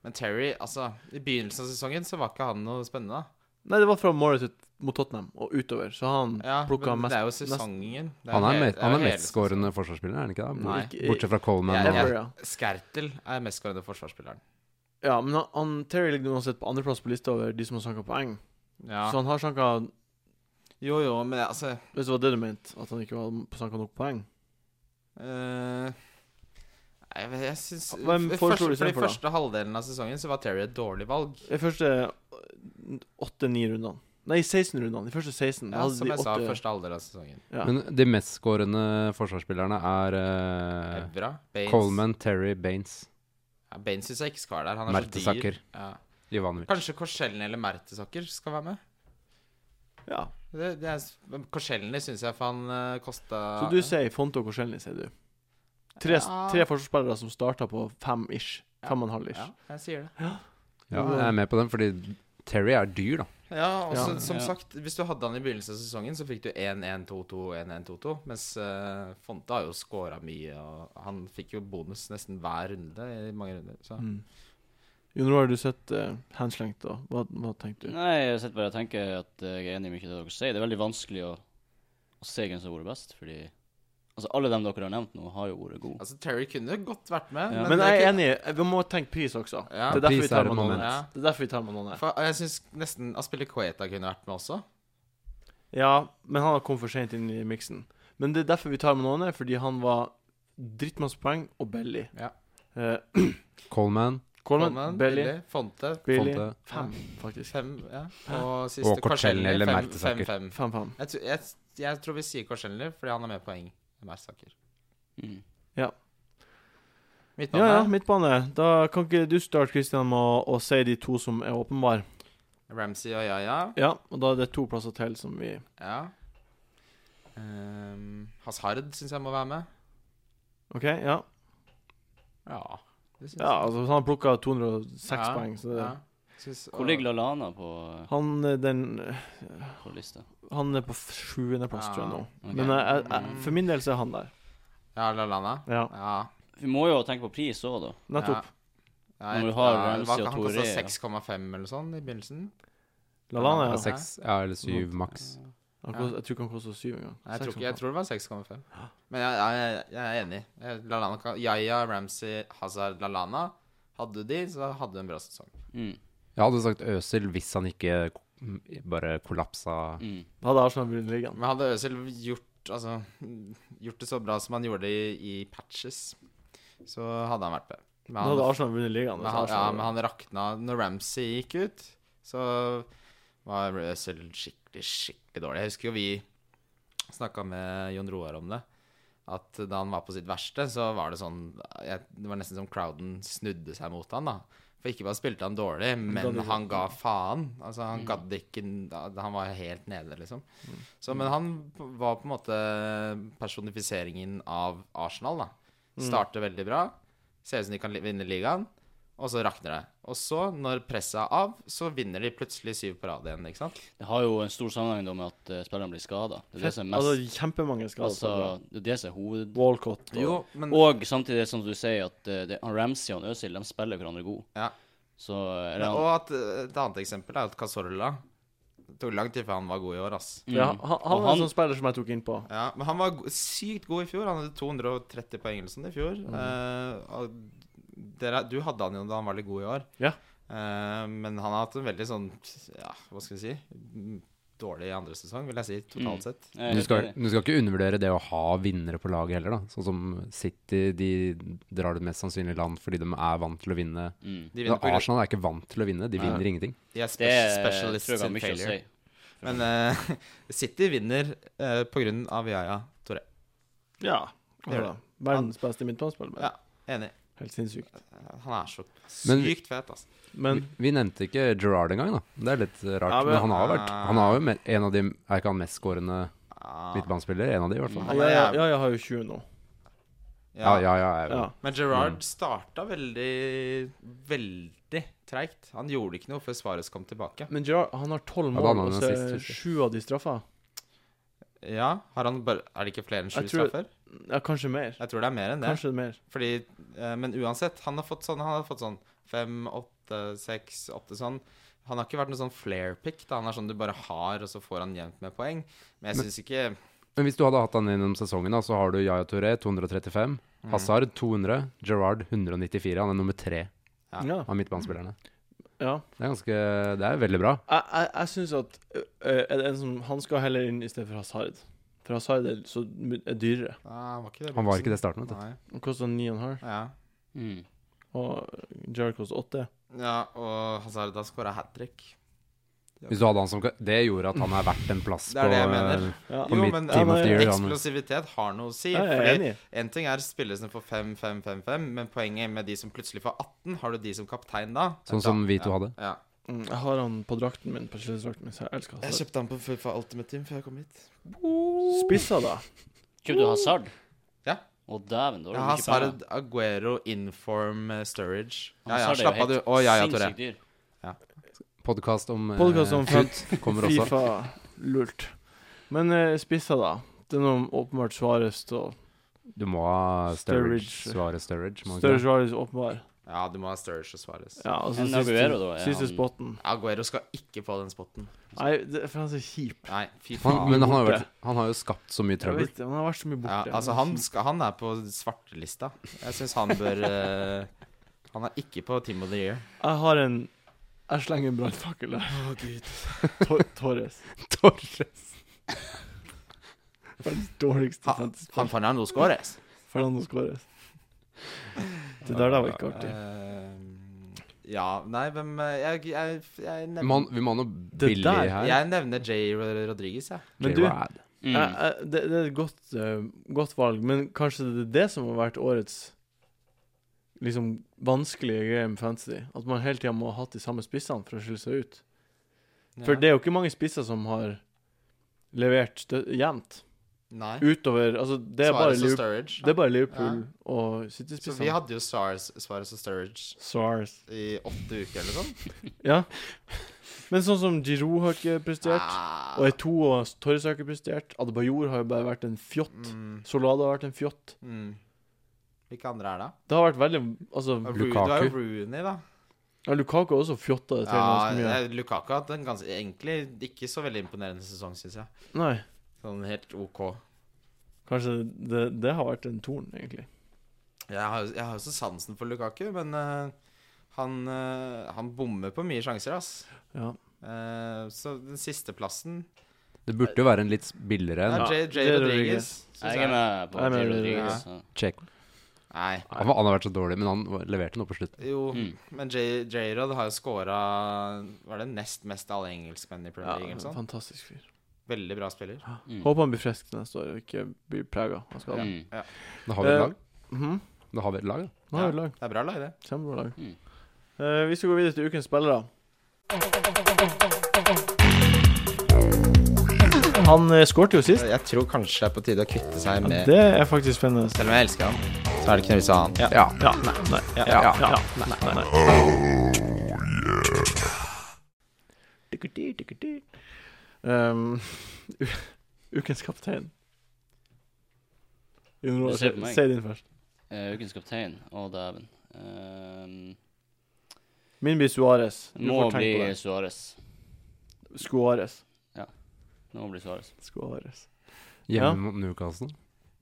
B: Men Terry, altså I begynnelsen av sesongen så var ikke han noe spennende.
A: Nei, det var fra Morris ut- mot Tottenham og utover, så han
B: Ja,
A: plukka
B: men
A: mest
B: det er jo sesongen. Det
C: Han er,
B: he-
C: me-
B: det
C: han
B: jo
C: er
B: hele
C: mestskårende forsvarsspiller, er han ikke det?
B: Nei.
A: Ikke-
C: Bortsett fra Coleman.
B: Jeg-
C: og-
A: Never, ja.
B: sesongen. Skertel er mestskårende forsvarsspilleren.
A: ja, men han, han, Terry ligger uansett på andreplass på lista over de som har sanka poeng.
B: Ja.
A: Så han har sanka
B: Jo, jo, men altså
A: Hvis det var det du mente, at han ikke var sanka nok poeng?
B: eh, Nei, jeg, vet- jeg syns
A: Hvem
B: først-
A: foreslår du
B: For de
A: istedenfor, da?
B: første halvdelen av sesongen så var Terry et dårlig valg.
A: De første åtte-ni rundene. Nei, 16 rundene. De første 16. Da
B: Ja,
A: hadde
B: som
A: de
B: jeg sa,
A: åtte-
B: første halvdel av sesongen.
A: Ja.
C: Men de mestskårende forsvarsspillerne er eh,
B: Evra, Baines
C: Coleman, Terry, Baines,
B: Ja, Baines syns jeg ikke skal være der. Han er så dyr.
C: Mertesaker,
B: Ja.
C: Ivanovic.
B: Kanskje Korsellen eller Mertesaker skal være med?
A: ja.
B: Det, det er, men Korsellen syns jeg for han uh, kosta
A: Så du sier Fonte og Korselny, sier du. Tre,
B: Ja.
A: tre forsvarsspillere som starta på fem-ish. Fem og en halv-ish.
B: Ja, jeg sier det.
C: Ja, jeg er med på den, fordi Terry er dyr, da.
B: Ja, og så-
A: Ja.
B: som
D: Ja.
B: sagt, hvis du hadde han i begynnelsen av sesongen, så fikk du 1-1-2-2, 1-1-2-2. Mens eh, Fonte har jo scora mye, og han fikk jo bonus nesten hver runde i mange runder. Så
A: Mm. Jon Roar, du sitter eh, henslengt, da. Hva, hva tenkte du?
D: Nei, jeg sitter bare og tenker at eh, jeg er enig i mye av det dere sier. Det er veldig vanskelig å, å se hvem som har vært best, fordi Altså, alle dem dere har nevnt nå, har jo vært gode.
B: altså, Terry kunne godt vært med.
D: Ja.
A: Men
B: det
A: jeg er
B: ikke-
A: enig, vi må tenke pris også.
B: Ja.
A: det er derfor
C: Pris
A: vi tar
C: er et
A: med noen.
C: moment.
B: Ja.
A: Det er derfor vi tar med noen her.
B: For jeg syns nesten at spiller Queta kunne vært med også.
A: Ja, men han har kommet for sent inn i miksen. Men det er derfor vi tar med noen her, fordi han var drittmasse poeng og billig.
B: Ja.
A: Eh,
C: Coleman,
A: Coleman,
B: Coleman,
A: billig,
B: Billy, Fonte,
A: billig.
C: Fonte.
A: Fem, faktisk.
B: fem, ja. Og siste
C: Og Korselny eller
B: fem-
C: Mertesaker.
B: fem- fem.
A: Fem, fem.
B: Jeg, tror- jeg, jeg tror vi sier Korselny fordi han har mer poeng enn Mertesaker.
D: Mm.
A: Ja, ja,
B: Midtbane,
A: midtbane. Da kan ikke du starte, Christian, med å, å si de to som er åpenbare.
B: Ramsey og Yaya.
A: Ja, og da er det to plasser til som vi
B: Ja. Um, Hazard syns jeg må være med.
A: OK, ja.
B: Ja. Det syns
A: ja altså, han har plukka 206
B: Ja,
A: poeng, så det
B: ja. Syns-
D: Hvor ligger Lallana på,
A: Han eh, den
D: på lista?
A: Han er på f- sjuendeplass,
B: Ja,
A: tror jeg nå.
B: Ah,
D: ok.
A: Men jeg, jeg,
B: Mm.
A: jeg, for min del så er han der.
B: Ja, Lallana.
A: Ja,
B: Ja.
D: Vi må jo tenke på pris òg, da.
A: nettopp.
B: Ja.
D: Når du har
B: Ja,
D: Ramsey
B: hva-
D: og
B: Han
D: Torre, ja.
B: kosta 6,5 eller sånn i begynnelsen.
A: Lallana,
C: ja,
A: ja.
C: seks ja, eller syv maks.
A: Han kost, jeg tror ikke han koster syv engang.
B: Jeg tror,
A: Seks
B: ikke, jeg
A: og
B: tror det var 6,5. Men jeg, jeg, jeg er enig. Jeg- Lallana kan Yaya, Ramsey, Hazard, Lallana. Hadde du de, så hadde du en bra sesong.
D: Mm.
C: Jeg hadde sagt Øsil hvis han ikke ko- m- bare kollapsa.
D: Mm.
A: en halv. Hadde Arsenal vunnet ligaen.
B: Men hadde Øzil gjort, altså, gjort det så bra som han gjorde det i, i patches, så hadde han vært med. Men
A: Da
B: han-
A: hadde Arsenal vunnet ligaen.
B: Men
A: hvis
B: han, ja,
A: Arsenal-
B: men han rakna Når Ramsey gikk ut, så var Russell skikkelig, skikkelig dårlig. Jeg husker jo vi snakka med Jon Roar om det. At da han var på sitt verste, så var det sånn jeg, Det var nesten som crowden snudde seg mot han da. For ikke bare spilte han dårlig, men
A: det-
B: han ga faen. Altså, han gadd ikke Han var helt nede, liksom. Så, men han var på en måte personifiseringen av Arsenal, da. Starter veldig bra. Ser ut som de kan li- vinne ligaen. Og så rakner det. Og så, når presset er av, så vinner de plutselig syv på rad igjen. ikke sant?
D: Det har jo en stor sammenheng da med at eh, spillerne blir skada. Det er det som er mest
A: Altså,
D: altså,
A: kjempemange skader.
D: det er det som er hoved...
A: Walcott og
B: Jo, men
D: Og samtidig, som du sier, at eh, det, han Ramsey og han Øzil de spiller hverandre god.
B: Ja.
D: Så eh, eller
B: Og
D: han,
B: at eh, et annet eksempel er at Casorla Det tok lang tid før han var god i år, ass.
D: mm,
A: ja, han, han
D: og
A: var en
D: han-
A: sånn spiller som jeg tok innpå.
B: Ja, men
D: Mm.
B: han var go sykt god i fjor. Han hadde 230 på engelsen i fjor. Eh, og dere, Du hadde han jo da han var litt god i år.
A: Ja.
B: Eh, men han har hatt en veldig sånn Ja, hva skal vi si mm, Dårlig andre sesong, vil jeg si, totalt
D: Mm.
B: sett.
D: Jeg er
C: Du
D: helt
C: skal,
D: enig.
C: du skal ikke undervurdere det å ha vinnere på laget heller, da. Sånn som City, de drar det mest sannsynlig i land fordi de er vant til å vinne.
D: Mm.
B: De
C: Men
B: vinner på grunn
C: Arsenal er ikke vant til å vinne, de
A: Nei.
C: vinner ingenting.
B: De er
D: Det
B: spe-
D: tror
B: specialists
D: jeg har
B: in
D: mye å
B: failure.
D: si.
B: Men eh, City vinner eh, på grunn av Yaya Torre.
A: Ja.
B: Det gjør
A: Altså, verdens beste midtbanespiller. men
B: Ja. Enig.
A: Helt sinnssykt.
B: Han er så
C: Men-
B: sykt fet, altså.
A: Men
C: vi, vi nevnte ikke Gerrard engang, da. Det er litt rart.
A: Ja,
C: men,
A: men-
C: han har vært Han har jo me- en av de Er ikke han mestskårende
B: Ah,
C: midtbanespiller? En av de, i hvert fall.
B: Nei.
A: ja, jeg, ja, jeg har jo 20 nå.
C: Ja,
B: ja.
C: ja, ja. jeg-
A: Ja.
B: Men Gerrard starta veldig, veldig treigt. Han gjorde ikke noe før Svares kom tilbake.
A: Men Gerard, han har 12
C: Ja, da
A: mål,
C: hadde han
A: og
C: en
A: så
C: assist,
A: er
C: husker jeg.
A: sju av de straffa.
B: Ja, har han bare, Er det ikke flere enn sju
A: Jeg tror-
B: straffer?
A: Ja, kanskje mer.
B: Jeg tror det er mer enn det.
A: Kanskje mer.
B: Fordi, eh, men uansett, han har fått sånn Han har fått sånn fem, åtte, seks, åtte sånn. Han har ikke vært noe sånn flair pick. da Han er sånn du bare har, og så får han jevnt med poeng. Men jeg
C: Men-
B: syns ikke
C: Men hvis du hadde hatt han gjennom sesongen, da, så har du Yaya Touré 235, Hazard 200, Gerrard 194. Han er nummer tre
B: Ja.
A: Ja.
C: av midtbanespillerne.
A: ja.
C: Det er ganske Det er veldig bra.
A: Jeg, jeg, jeg syns at ø, ø, er det en som, han skal heller inn i stedet for Hazard. For Hazard er, så, my- er dyrere.
B: Nei, han Ah, var ikke det.
C: Han var ikke det i starten, vet du.
B: Nei.
A: Han koster 9,5,
B: Ja.
D: Mm.
A: og Gerard koster 8.
B: ja, og Hazard har skåra hat trick.
C: Hvis du hadde han som ka- Det gjorde at han er verdt en plass
B: Det er det jeg
C: på, eh,
B: mener.
A: Ja.
C: på
B: Jo,
C: mitt
B: men-
C: team
A: Ja,
C: of
A: men-
C: the year. han-
B: Eksplosivitet har noe å si.
A: Ja, jeg er
B: fordi
A: enig.
B: én ting er spillere som får 5, 5, 5, 5, men poenget med de som plutselig får 18, har du de som kaptein da?
C: Sånn som vi to
B: ja.
C: hadde.
B: Ja.
A: Mm, Jeg har han på drakten min, på skjellsdrakten min, så jeg elsker Hazard.
B: kjøpte han på Fufa Ultimate Team før jeg kom hit.
A: Spissa, da.
D: Kjøpte du Hazard?
B: Ja.
D: Å, dæven, da
B: Ja,
D: har du mye penger.
B: Hazard, Aguero, Inform, eh, Sturridge. Ja, ja,
D: Hazard er jo
B: slapp av,
D: helt
B: du. Å, ja, ja, Tore.
D: sinnssykt dyr.
C: Podkast om, eh,
A: Podkast om
C: Fut kommer også.
A: Fifa. Lult. Men eh, spissa, da. Det er noe åpenbart Suarez og
C: Du må ha Sturridge.
A: Sturridge.
C: Svare Sturridge. må du
A: Større
C: ikke det?
A: Suarez åpenbar.
B: Ja, du må ha Sturridge og Suarez.
A: Ja, og så
D: En
A: siste,
D: Aguero, da, er
A: siste
D: han-
A: spotten.
B: Aguero skal ikke på den spotten.
A: Nei, det, for han er så kjip.
B: Nei, fy
C: han,
B: faen.
C: men han har, jo vært, han har jo skapt så mye
A: Jeg
C: trøbbel.
A: vet, det, han har vært så mye
B: Ja,
A: borte.
B: altså, han, skal, han er på svartelista. Jeg syns han bør eh, Han er ikke på Team of the Year.
A: Jeg har en Jeg slenger en brannfakkel der.
B: Å, Gud.
A: Tor Torres.
C: Torres.
A: Verdens dårligste
B: Han, han
A: fantasy-spiller.
B: Fernando Scores.
A: Fernando Suarez. Det der der var ikke artig.
B: ja, nei, hvem eh, Jeg, jeg, jeg
C: Man,
B: nevner
C: vi må ha noe
A: Det
C: billig
A: der-
C: her.
B: Jeg nevner J. Rodriguez, jeg.
A: Men du,
C: Gerrard.
D: Mm.
A: jeg, jeg, det, det er et godt, eh, godt valg, men kanskje det er det som har vært årets liksom vanskelige greie med fantasy. At man hele tida må ha hatt de samme spissene for å skille seg ut. For
B: Ja.
A: det er jo ikke mange spisser som har levert stø- jevnt.
B: Nei.
A: Utover Altså, det er bare
B: Suarez og
A: Liverpool,
B: Sturridge.
A: det er bare Liverpool og
B: Så vi
A: City-spissene.
B: hadde jo Suarez, Suarez og Sturridge
A: Sars.
B: i åtte uker eller sånn.
A: Ja. Men sånn som Giroud har ikke prestert,
B: Ah.
A: og Eto og Torres har ikke prestert, Adebayor har jo bare vært en fjott.
B: Mm,
A: Solada har vært en fjott.
B: mm. Hvilke andre er det?
A: Det har vært veldig Altså,
B: Ru-
C: Lukaku.
B: Du har jo Rooney, da.
A: ja, Lukaku har også fjotta det til ganske mye.
B: Ja, eh, Lukaku har hatt en ganske Egentlig ikke så veldig imponerende sesong, syns jeg.
A: Nei,
B: Sånn helt OK.
A: kanskje det, det har vært en torn, egentlig.
B: Jeg har jeg har jo så sansen for Lukaku, men eh, han, eh, han bommer på mye sjanser, ass.
A: Ja.
B: Eh, så den sisteplassen
C: Det burde jo være en litt billigere
B: ja,
C: enn
A: Ja,
B: J. J.
A: J.
B: Rodriguez. synes
D: Jeg er med på
A: Jeg er med,
D: Jay
A: ja.
D: Rodriguez. Ja.
C: Check.
B: Nei.
C: Han, var- han har vært så dårlig, men han var- leverte noe på slutt.
B: Jo,
D: Mm.
B: men J- J-Rod har jo scora Var det nest mest av alle engelskmenn
A: Ja,
B: i Premier League? eller sånn?
A: fantastisk fyr.
B: Veldig bra spiller.
D: Mm.
A: Håper han blir frisk til neste år og ikke blir prega av skade.
D: Mm.
C: Da har vi et
A: Eh,
C: lag.
A: Mhm.
C: Da har vi et lag, da.
A: Nå har vi
B: Ja.
A: et lag.
B: Det er bra lag, det.
A: Kjempebra lag.
D: Mm.
A: Eh, vi skal gå videre til ukens spillere. Han uh, skårte jo sist.
B: Jeg tror kanskje det er på tide å kvitte seg med
A: Det er faktisk spennende.
B: Selv om jeg elsker han, så er det ikke noe vits i å ha han.
C: Ja.
A: Ja, nei, nei, ja, ja, ja, nei, nei, nei. Tikkerti, tikkerti. Um, u- ukens kaptein. Jon Roar,
D: Du ser på meg.
A: si din først.
D: Eh, ukens kaptein. Å, dæven. Ehm,
A: Min blir Suárez. Du
D: må
A: får tenke på
D: bli
A: det.
D: Suárez.
A: Suárez.
D: Nå blir Suárez.
A: Suárez. Ja.
C: Hjemme mot Newcastle.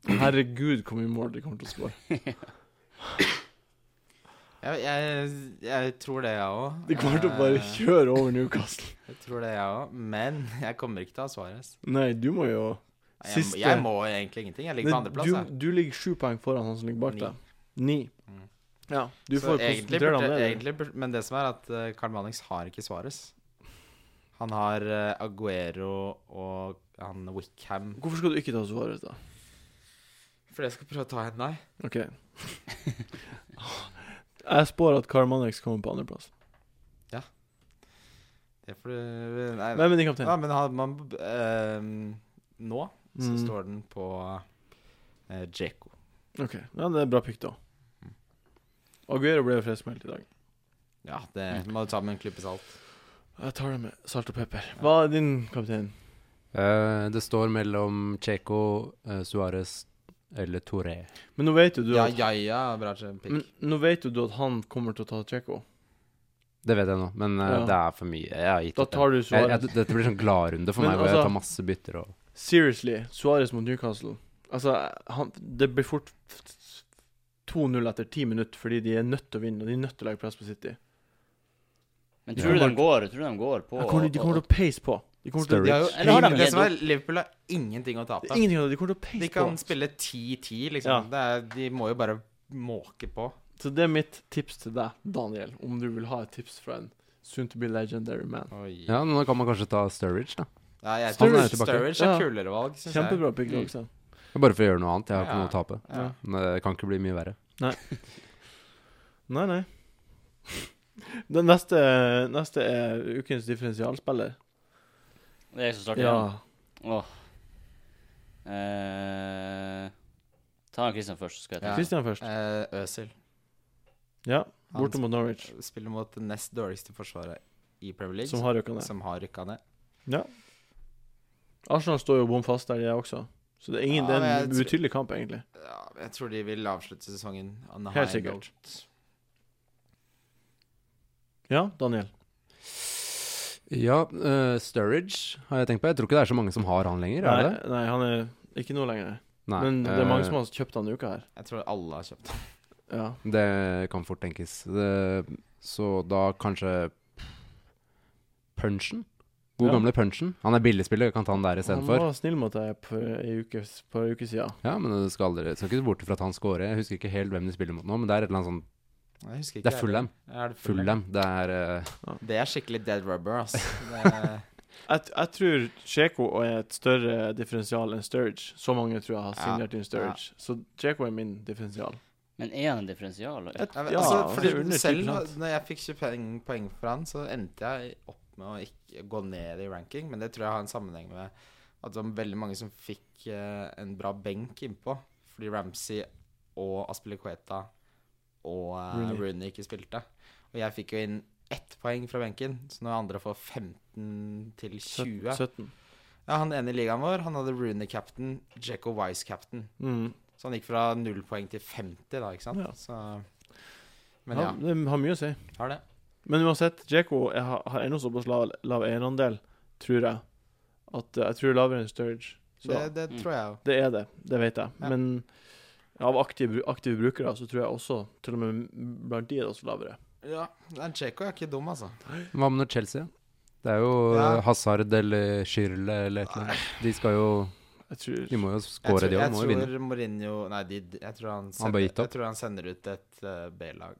A: Herregud, hvor mye mål de kommer til å skåre.
B: Jeg, jeg, jeg tror det, jeg òg.
A: De kommer til å bare
B: Eh.
A: kjøre over Newcastle.
B: Jeg tror det, jeg òg. Men jeg kommer ikke til å ha Suárez.
A: Nei, du må jo
B: Jeg,
A: Siste-
B: jeg må egentlig ingenting. Jeg ligger på
A: Nei,
B: andreplass. jeg.
A: du, du ligger sju poeng foran han som ligger bak
B: Ni.
A: deg. Ni.
B: Mm.
A: Ja, du
B: Så
A: får konsentrere
B: egentlig
A: deg om
B: burde-
A: det.
B: egentlig burde- Men det som er at eh, Karl Mannings har ikke Suárez. Han har eh, Aguero og han Wickham.
A: Hvorfor skal du ikke ta Suárez, da?
B: For jeg skal prøve å ta en deg.
A: OK. Jeg spår at Karl Mannix kommer på andreplass.
B: Det får du Nei,
A: Hvem er din
B: Ja,
A: kaptein?
B: men har man eh, Nå så
A: Mm.
B: står den på eh, Dzeko.
A: OK. Ja, det er bra pick, da.
B: Mm.
A: Aguero ble friskmeldt i dag.
B: Ja,
A: Mm.
B: det må du ta med en klype salt.
A: Jeg tar det med salt og pepper. Hva er din kaptein?
C: Eh, det står mellom Cheko, uh, Suárez eller Toré.
A: Men nå vet jo du Mm.
B: Ja,
A: at
B: ja, ja, bra pick.
A: men, nå vet jo du at han kommer til å ta Tsjekko.
C: Det vet jeg nå, men eh,
A: Ja.
C: det er for mye. Jeg har gitt
A: Da
C: opp.
A: tar du
C: jeg, jeg,
A: Suárez.
C: dette blir sånn gladrunde for
A: Men
C: meg, hvor
A: altså-
C: jeg tar masse bytter og
A: Seriously, Suárez mot Newcastle. Altså, han, det blir fort 2-0 etter 10 minutter fordi de er nødt til å vinne, og de er nødt til å legge press på City.
D: Men
C: Ja.
D: tror du de går, tror du de går på
A: De kommer, til- de kommer til å pace på. De kommer til å,
C: Sturridge.
B: De har jo,
D: Eller har de
B: det
D: gitt
B: som er, Liverpool har ingenting å
A: det
B: tape.
A: er ingenting av det. De kommer til å
B: De
A: pace
B: kan
A: på.
B: spille 10-10,
A: Ja.
B: liksom. Det er, de må jo bare måke på.
A: Så det er mitt tips til deg, Daniel, om du vil ha et tips fra en soon to be legendary man.
B: Oi.
C: Ja, nå kan man kanskje ta Sturridge, da.
B: Nei, jeg
C: Han er
B: tror
C: jo tilbake.
B: Sturridge er
A: Ja.
B: kulere valg, syns jeg. Mm.
A: Kjempebra pick, også.
C: Bare for å gjøre noe annet. Jeg har
B: Ja.
C: ikke noe å tape.
B: Ja.
A: Ja.
C: Men Det kan ikke bli mye verre.
A: Nei, nei. Den neste, neste er ukens differensialspiller.
D: Det er jeg som starter igjen.
A: Ja.
D: Åh. Eh, ta han Christian først, så skal jeg ta.
B: Ja.
A: Christian først.
B: Eh, Øzil
A: Ja,
B: Han
A: borte mot Norwich,
B: spiller mot det nest dårligste forsvaret i Premier League,
A: som
B: som
A: har røkka
B: har,
A: ned.
B: rykka ned.
A: Arsenal står jo bom fast der, de er også. Så det er, ingen,
B: Ja,
A: det er
B: men
A: en
B: jeg-
A: utydelig kamp, egentlig.
B: Ja, jeg tror de vil avslutte sesongen on a
A: Helt
B: high
A: sikkert.
B: note.
A: Ja, Daniel.
C: Ja, eh, Sturridge har jeg tenkt på. Jeg tror ikke det er så mange som har han lenger.
A: Nei,
C: er det det?
A: nei, han er ikke nå lenger.
C: Nei.
A: Men det er mange
C: eh,
A: som har kjøpt han i uka her.
B: Jeg tror alle har kjøpt den.
A: Ja.
C: Det kan fort tenkes. Det, så da kanskje Punchen? God
A: Ja.
C: gamle Punchen. Han er billigspiller, kan ta han der
A: Han
C: istedenfor.
A: var snill mot deg for ei uke, for ei uke siden.
C: Ja, men du skal, aldri, skal ikke se bort fra at han scorer. Jeg husker ikke helt hvem de spiller mot nå, men det er et eller annet sånn
B: Jeg husker ikke
C: Det er
B: jeg
C: Fulham.
B: Er det Fulham?
C: Fulham. Det er eh,
B: Det er skikkelig dead rubber, ass. Det er,
A: Jeg, t- jeg tror Cheko er et større differensial enn Sturridge. Så mange tror jeg har
B: Ja,
A: signert inn Sturridge.
B: ja.
A: Så Cheko er min differensial.
D: Men er han en differensial? eller?
A: Jeg-
B: Ja, men,
A: ja,
B: altså,
A: det er
B: fordi
A: under
B: selv
A: 10%.
B: når jeg fikk 20 poeng, poeng for han, så endte jeg opp med å ikke gå ned i ranking, men det tror jeg har en sammenheng med at det var veldig mange som fikk eh, en bra benk innpå, fordi Ramsey og Aspilicueta og eh,
A: Rooney.
B: Rooney ikke spilte. Og jeg fikk jo inn ett poeng fra benken, så når andre får 15 til 20
A: Sytt- 17.
B: Ja, Han ene i ligaen vår, han hadde Rooney-captain, Jekko Wise-captain.
A: Mm.
B: Så han gikk fra null poeng til 50, da, ikke sant?
A: Ja.
B: Så, men
A: Ja,
B: ja,
A: det har mye å si.
B: har det.
A: Men uansett, Djeko jeg har, har ennå såpass lav, lav eierandel, tror jeg. At eh, jeg tror lavere enn Sturridge. Så
B: Det, det
D: Mm.
B: tror jeg jo.
A: Det er det, det vet jeg.
B: Ja.
A: Men av aktive, bru- aktive brukere så tror jeg også, til og med blant de er det også lavere.
B: Ja, Nei, Dzeko er ikke dum, altså.
C: Hva med når Chelsea? Det er jo
B: Ja.
C: eh, Hazard eller Schürrle eller et eller annet. De skal jo
A: Jeg tror
C: De må jo
B: Jeg
C: score,
B: tror,
C: de òg.
B: jeg
C: Må jo vinne.
B: tror Mourinho Nei, de, jeg, tror han
C: Han bare
B: sender,
C: gitt opp.
B: jeg tror han sender ut et eh, B-lag.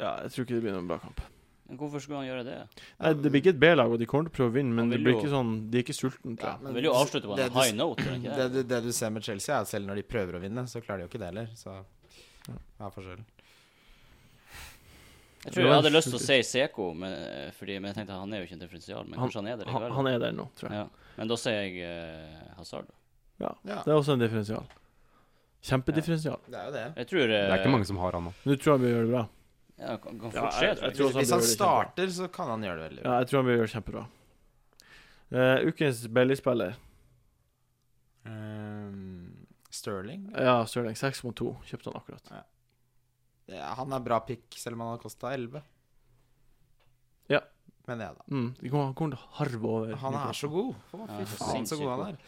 A: Ja, jeg tror ikke det blir noen bra kamp.
D: Men hvorfor skulle han gjøre det?
A: Nei, det blir ikke et B-lag, og de kommer til å prøve å vinne, men
D: Han
A: det
D: vil
A: blir
D: jo-
A: ikke sånn De er ikke sultne, tror
B: Ja,
A: jeg.
D: Han vil jo avslutte på
B: det
D: en
B: du-
D: high note. er det
B: Det,
D: ikke det?
B: du- det du ser med Chelsea, er at selv når de prøver å vinne, så klarer de jo ikke det heller. Så hva er forskjellen?
D: Jeg tror jeg hadde lyst til å si Seko, men, eh, fordi, men jeg tenkte han er jo ikke en differensial. Men
A: Han-
D: kanskje han er det
A: Han,
D: likevel.
A: han er der nå, tror jeg.
D: Ja. Men da sier jeg eh, Hazard.
B: Ja,
A: Det er også en differensial. Kjempedifferensial.
B: det er jo det.
D: Jeg tror eh,
C: Det er ikke mange som har han nå.
A: Men du tror han vil gjøre det bra?
D: Ja, kan, kan
A: Ja,
D: fort skje,
A: jeg-
D: tror
A: jeg
D: jeg.
A: tror også han
B: Hvis han
A: blir veldig
B: starter, så kan han gjøre det veldig bra.
A: Ja, jeg tror han vil gjøre det kjempebra. Eh, ukens Bailey-spiller.
B: Ehm, Sterling
A: Ja, Stirling. 6 mot 2. Kjøpte han akkurat.
B: ja, Han er bra pick, selv om han har kosta 11.
A: Ja.
B: Men ja da.
A: Mm, de kommer- han kommer til å harve over.
B: Han er så god. Å,
D: Ja,
B: Fy
D: så
B: faen, så
D: sinnssykt
B: god han
D: god.
B: er.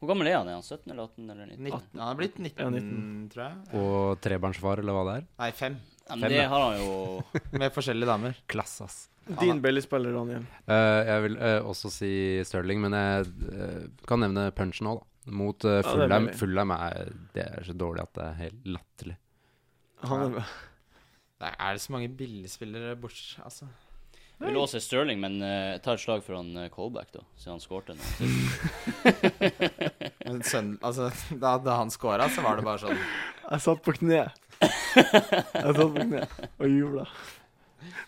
D: Hvor gammel er han? Er han 17 eller 18 eller 19?
B: 19, han er blitt 19,
A: Ja, 19.
B: tror jeg.
C: Og trebarnsfar, eller hva det er.
B: Nei, 5.
D: Ja, men
C: Fem,
D: det
C: da.
D: har han jo
B: Med forskjellige damer.
C: Klasse, ass.
A: Din Bailey-spiller, Daniel.
C: Eh, jeg vil eh, også si Sterling, men jeg eh, kan nevne punchen òg, da. Mot eh,
A: det er
C: Fulham.
A: mulig.
C: Fulham er, det er så dårlig at det er helt latterlig.
A: Han er,
B: Det er så mange billigspillere bort, altså.
D: Vi låser Sterling, men eh, ta et slag for han eh, Colback, da, siden han skårte nå.
B: Men Søn, altså da, da han scora, så var det bare sånn
A: jeg satt på kne. Jeg satt på kne og jubla.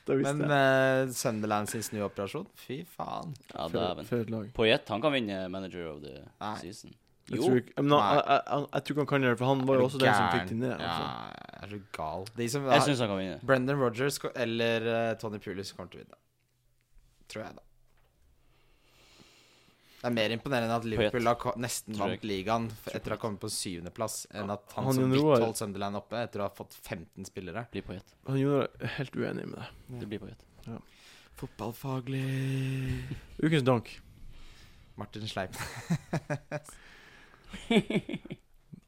A: Da visste
B: Men
A: jeg.
B: eh, Sunderland sin snuoperasjon, fy faen.
D: eh, Ja,
A: For,
D: dæven.
A: for et lag.
D: Poyet, han kan vinne Manager of the
B: Nei.
D: Season.
A: Jeg
D: Jo.
A: tror, ikke, men, han-
B: Nei.
A: jeg, jeg, jeg tror ikke han kan gjøre det, for han var jo også den som fikk det ned. Altså.
B: Ja, er du gal. De som
D: Jeg syns han kan vinne.
B: Brendan Rogers ko- eller eh, Tony Pulis kommer til å vinne. Tror jeg, da. Det er mer imponerende at Liverpool har ko- nesten
D: Tror jeg
B: vant ligaen f- etter å ha kommet på syvendeplass, enn at han,
A: Han
B: som
A: Jon
B: vidt
A: Roar-
B: holdt Sunderland oppe etter å ha fått 15 spillere.
D: Blir Poyet.
A: Han Jonar er helt uenig med deg.
D: Det blir Poyet.
B: Fotballfaglig
A: Ukens dank.
B: Martin Sleip.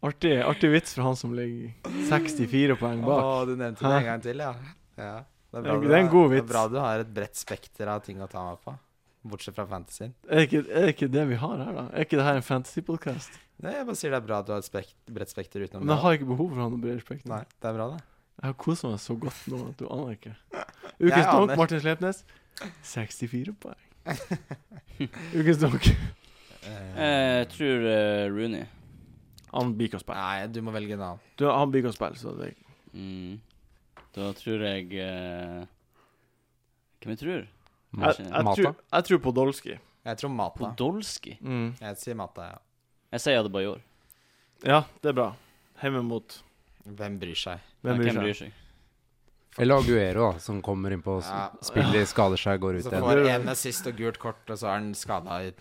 A: Artig, artig vits fra han som ligger 64 poeng
B: Å,
A: bak.
B: du nevnte det
A: Hæ?
B: en gang til, ja. ja. Det,
A: Det er-
B: du
A: det er en
B: har-
A: god
B: det er
A: vits.
B: bra du har et bredt spekter av ting å ta meg på, bortsett fra fantasyen.
A: Er det, ikke, er det ikke det vi har her, da? Er ikke det her en fantasy-podkast?
B: Nei, jeg bare sier det er bra at du har et spekt, bredt spekter utenom
A: Men jeg
B: det.
A: har ikke behov for han å bli respektert.
B: Nei, det er bra, det.
A: Jeg har kosa meg så godt nå at du aner ikke.
B: Jeg
A: Ukens donk,
B: aner.
A: Martin Slepnes. 64 poeng. Ukens donk.
D: Eh, Jeg tror eh, Rooney.
A: Han biker å spille.
B: Nei, du må velge en annen.
A: Du, han biker å spille, så det
D: Mm. Da tror jeg eh, Hvem jeg tror?
A: jeg,
C: Mat-
A: jeg,
D: Mata.
A: tror, jeg tror på Dolski.
B: Jeg tror Mata.
D: Podolski?
A: Mm.
B: Jeg sier Mata, ja.
D: Jeg sier Adebayor.
A: Ja, det er bra. Hjemme mot
B: Hvem bryr seg?
A: Hvem
D: Hvem
A: bryr seg?
D: bryr seg?
C: Eller Aguero, da, som kommer innpå og s-
B: Ja.
C: spiller, skader seg, går ut
B: Så
C: igjen.
B: får en assist og gult kort, og så er han skada i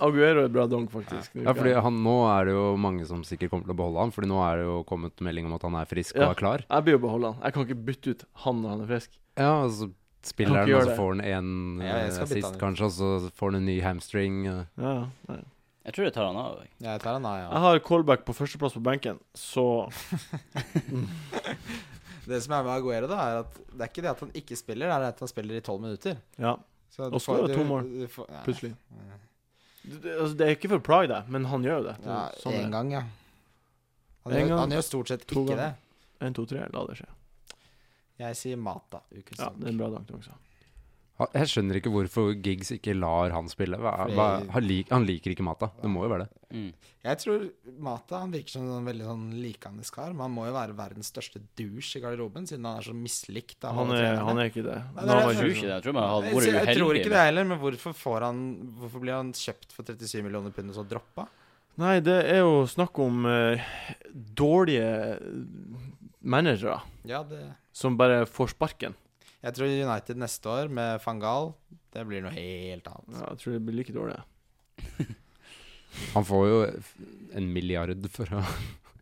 A: Aguero er bra donk, faktisk.
C: Ja, fordi han, Nå er det jo mange som sikkert kommer til å beholde ham, Fordi nå er det jo kommet melding om at han er frisk
A: Ja.
C: og er klar.
A: Jeg blir å beholde han. Jeg kan ikke bytte ut han når han er frisk.
C: Ja, og så
A: Kan
C: spiller
A: ikke
C: han, og
A: gjøre
C: så får han en
B: Ja, jeg skal
C: eh,
B: bytte
C: sist,
B: han ut.
C: kanskje, og så får han en ny hamstring. eh.
A: Ja, ja.
D: Jeg tror jeg tar han av. jeg.
B: Jeg tar en
A: Jeg
B: annen,
A: har callback på førsteplass på benken, så
B: ja. Det som er med Aguero, da, er at det er ikke det at han ikke spiller, det er at han spiller i tolv minutter.
A: Ja,
B: Så du
A: Og
B: får-
A: skårer
B: du-
A: to mål,
B: du får- ja.
A: plutselig. Det, det- altså, det er ikke for å pry deg, men han gjør jo det. det er
B: Ja,
A: sånn det
B: én
A: er.
B: gang, ja.
A: En
B: Han gjør,
A: gang.
B: han gjør stort sett
A: To
B: ikke det.
A: ganger. En, to, tre, la det skje.
B: Jeg sier Mata. Ukens
A: Ja,
B: sak.
A: det er en bra dag også.
C: Ha- Jeg skjønner ikke hvorfor Giggs ikke lar han spille. Hva,
B: Fordi-
C: hva, han, lik, han liker ikke Mata. Det må jo være det.
D: Mm.
B: Jeg tror Mata han virker som en veldig sånn likende kar. Men han må jo være verdens største douche i garderoben, siden han er så mislikt av
A: Han
B: alle
A: er,
B: trenerne.
A: han er ikke det.
B: Nei,
A: Men
B: det er
A: han
B: det
A: var
D: Jeg tror ikke
A: ikke
D: det. Jeg tror bare han
B: Jeg,
D: hadde
B: jeg,
D: vært
B: tror
D: uheldig.
B: ikke det
D: med-
B: heller, men hvorfor, får han, hvorfor blir han kjøpt for 37 millioner pund og så droppa?
A: Nei, det er jo snakk om eh, dårlige eh, managere
B: Ja, det
A: som bare får sparken.
B: Jeg tror United neste år med van Gaal, det blir noe helt annet.
A: Ja, jeg tror det blir like dårlig.
C: Han får jo f- en milliard for å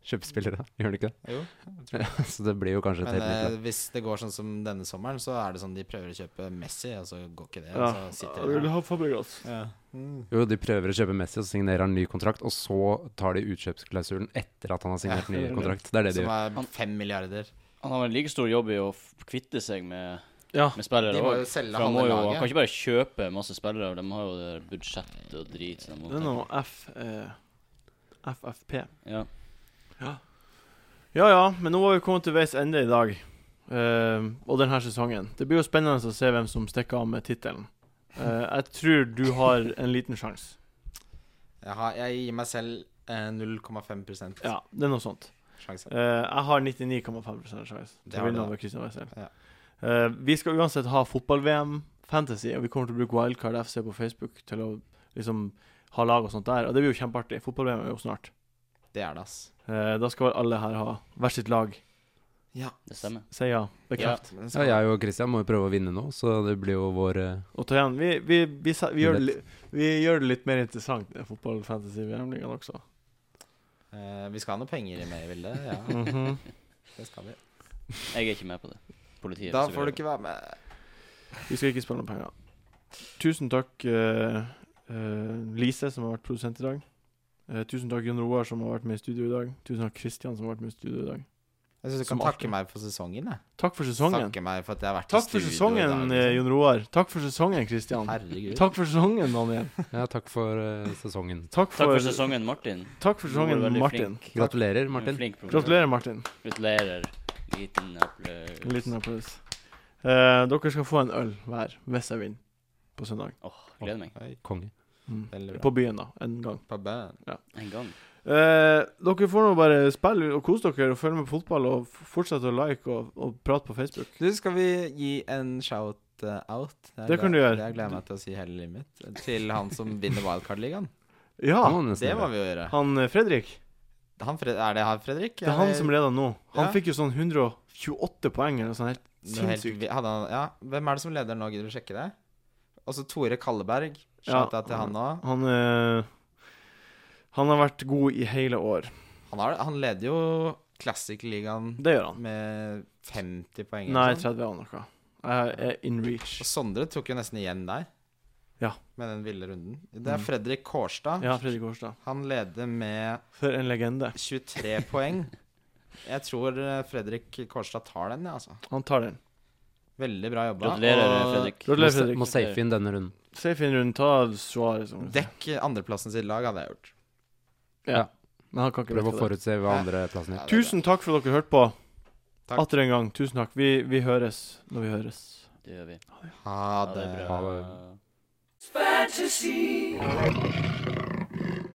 C: kjøpe spillere, gjør han ikke det?
B: Jo,
C: Så det blir jo kanskje
B: men
C: et helt nytt
B: eh,
C: lag.
B: hvis det går sånn som denne sommeren, så er det sånn de prøver å kjøpe Messi, og så går ikke det.
A: Ja.
B: Og så
A: Jeg
B: sitter
A: vil
B: de der.
A: ha altså? Fabregas.
B: Ja. Mm.
C: Jo, de prøver å kjøpe Messi og så signerer han ny kontrakt, og så tar de utkjøpsklausulen etter at han har signert
A: Ja,
C: ny
A: det er det.
C: kontrakt. Det er det
B: Som
C: de gjør.
B: er fem milliarder.
D: Han har en like stor jobb i å f- kvitte seg med,
A: Ja.
D: med
B: De
D: spillere
B: må
D: òg.
B: jo selge
D: For han, må
B: halve
D: jo, han kan
B: laget.
D: ikke bare kjøpe masse spillere, de har jo det budsjett og drit. Som
A: Det er
D: de må
A: noe F... Eh, FFP.
D: ta. ja.
A: Ja ja, men nå har vi kommet til veis ende i dag. eh, og denne sesongen. Det blir jo spennende å se hvem som stikker av med tittelen. Eh, jeg tror du har en liten sjanse.
B: Jeg, har, jeg gir meg selv eh, 0,5
A: Ja, det er noe sånt.
B: sjanse.
A: Eh, jeg har 99,5 sjanse
B: Det
A: til å
B: har du,
A: vinne
B: da.
A: over Christian Weissel.
B: Ja.
A: Eh, vi skal uansett ha fotball-VM, fantasy, og vi kommer til å bruke Wildcard FC på Facebook til å liksom ha lag og sånt der. Og det blir jo kjempeartig. Fotball-VM er jo snart.
B: Det er det, ass.
A: Eh, da skal alle her ha hvert sitt lag.
B: Ja.
D: Det stemmer.
A: Si ja, bekreft
B: Ja, men det
C: Ja,
B: skal-
C: jeg og Christian må jo prøve å vinne nå, så det blir jo vår eh,
A: og ta igjen. Vi, vi, vi, sa- vi, gjør, det, li- vi gjør det litt mer interessant, den fotball-fantasy-VM-ligaen også.
B: Eh, vi skal ha noe penger i med i bildet. Ja,
A: Mhm.
B: det skal vi.
D: Jeg er ikke med på det. Politiet
B: Da
D: så
B: får du
D: vil-
B: ikke være med.
A: Vi skal ikke spille noen penger. Tusen takk, eh, eh, Lise, som har vært produsent i dag. Eh, tusen takk, Jon Roar, som har vært med i studio i dag. Tusen takk, Kristian, som har vært med i studio i dag.
B: Jeg syns du
A: Som
B: kan takke
A: alltid.
B: meg for sesongen. Jeg.
A: Takk for sesongen.
B: Takke meg for at jeg har vært
A: Takk
B: i
A: for
B: studio i dag. liksom.
A: sesongen, eh, Jon Roar. Takk for sesongen, Kristian.
B: Herregud.
A: Takk for sesongen, Daniel.
C: Ja, takk for eh, sesongen.
A: Takk
D: Takk
A: for,
D: for sesongen, Martin.
A: takk for
D: Du var
A: sesongen,
D: veldig
A: Martin.
D: flink.
C: Gratulerer,
D: Du var
C: Martin.
D: Flink professor.
A: Gratulerer, Martin.
D: Gratulerer. Liten applaus.
A: En liten applaus. Eh, dere skal få en øl hver hvis jeg vinner på søndag.
D: Åh, gleder meg.
B: Oi,
C: Konge.
A: Mm.
B: veldig bra.
A: På byen, da. En gang.
B: På bøn.
D: En gang.
A: Eh, dere får nå bare spille og kose dere og følge med på fotball og f- fortsette å like og, og prate på Facebook.
B: Du, skal vi gi en shout-out?
A: Det kan du gjøre.
B: Jeg gleder jeg meg til å si hele livet mitt. eh, Til han som vinner Wildcard-ligaen.
C: Det må
A: Ja!
C: man nesten
B: Det må
C: gjøre.
B: vi jo gjøre.
A: Han eh, Fredrik,
B: Han, Fred- er det han, Fredrik?
A: det er han som leder nå. Han
B: Ja.
A: fikk jo sånn 128 poeng eller noe sånt. helt Sinnssykt.
B: sinnssykt. Hadde han, ja. Hvem er det som leder nå? Gidder du sjekke det? Også Tore Kalleberg.
A: Ja.
B: Shout-out til han òg.
A: Han eh, Han har vært god i hele år.
B: Han, har- han leder jo Classic-ligaen
A: Det gjør han.
B: med 50 poeng. eller
A: Nei,
B: sånn.
A: 30 og noe. Jeg er in reach.
B: Og Sondre tok jo nesten igjen der.
A: Ja.
B: Med den ville runden. Det er
A: Mm.
B: Fredrik Kårstad.
A: Ja, Fredrik Årstad.
B: Han leder med
A: For en legende.
B: 23 poeng. Jeg tror eh, Fredrik Kårstad tar den, ja, altså.
A: Han tar den.
B: Veldig bra jobba.
D: Gratulerer,
B: og
D: Fredrik.
C: Må,
A: Gratulerer,
C: sa-
A: Fredrik.
C: må safe inn denne runden.
A: Safe in rundt. Ta Suarez. om du sier.
B: Dekk andreplassen sitt lag, hadde jeg gjort.
A: Ja. Men han kan ikke
C: Prøv
A: vite
C: å
A: det.
C: forutse hva andreplassen
B: Ja,
C: gjør.
B: det er bra.
A: Tusen takk for at dere hørte på.
B: Takk.
A: Atter en gang, tusen takk. Vi, vi høres når vi høres.
D: Det gjør vi.
B: Ha
D: Ha
B: det.
D: det
C: Ha
D: bra.
C: det.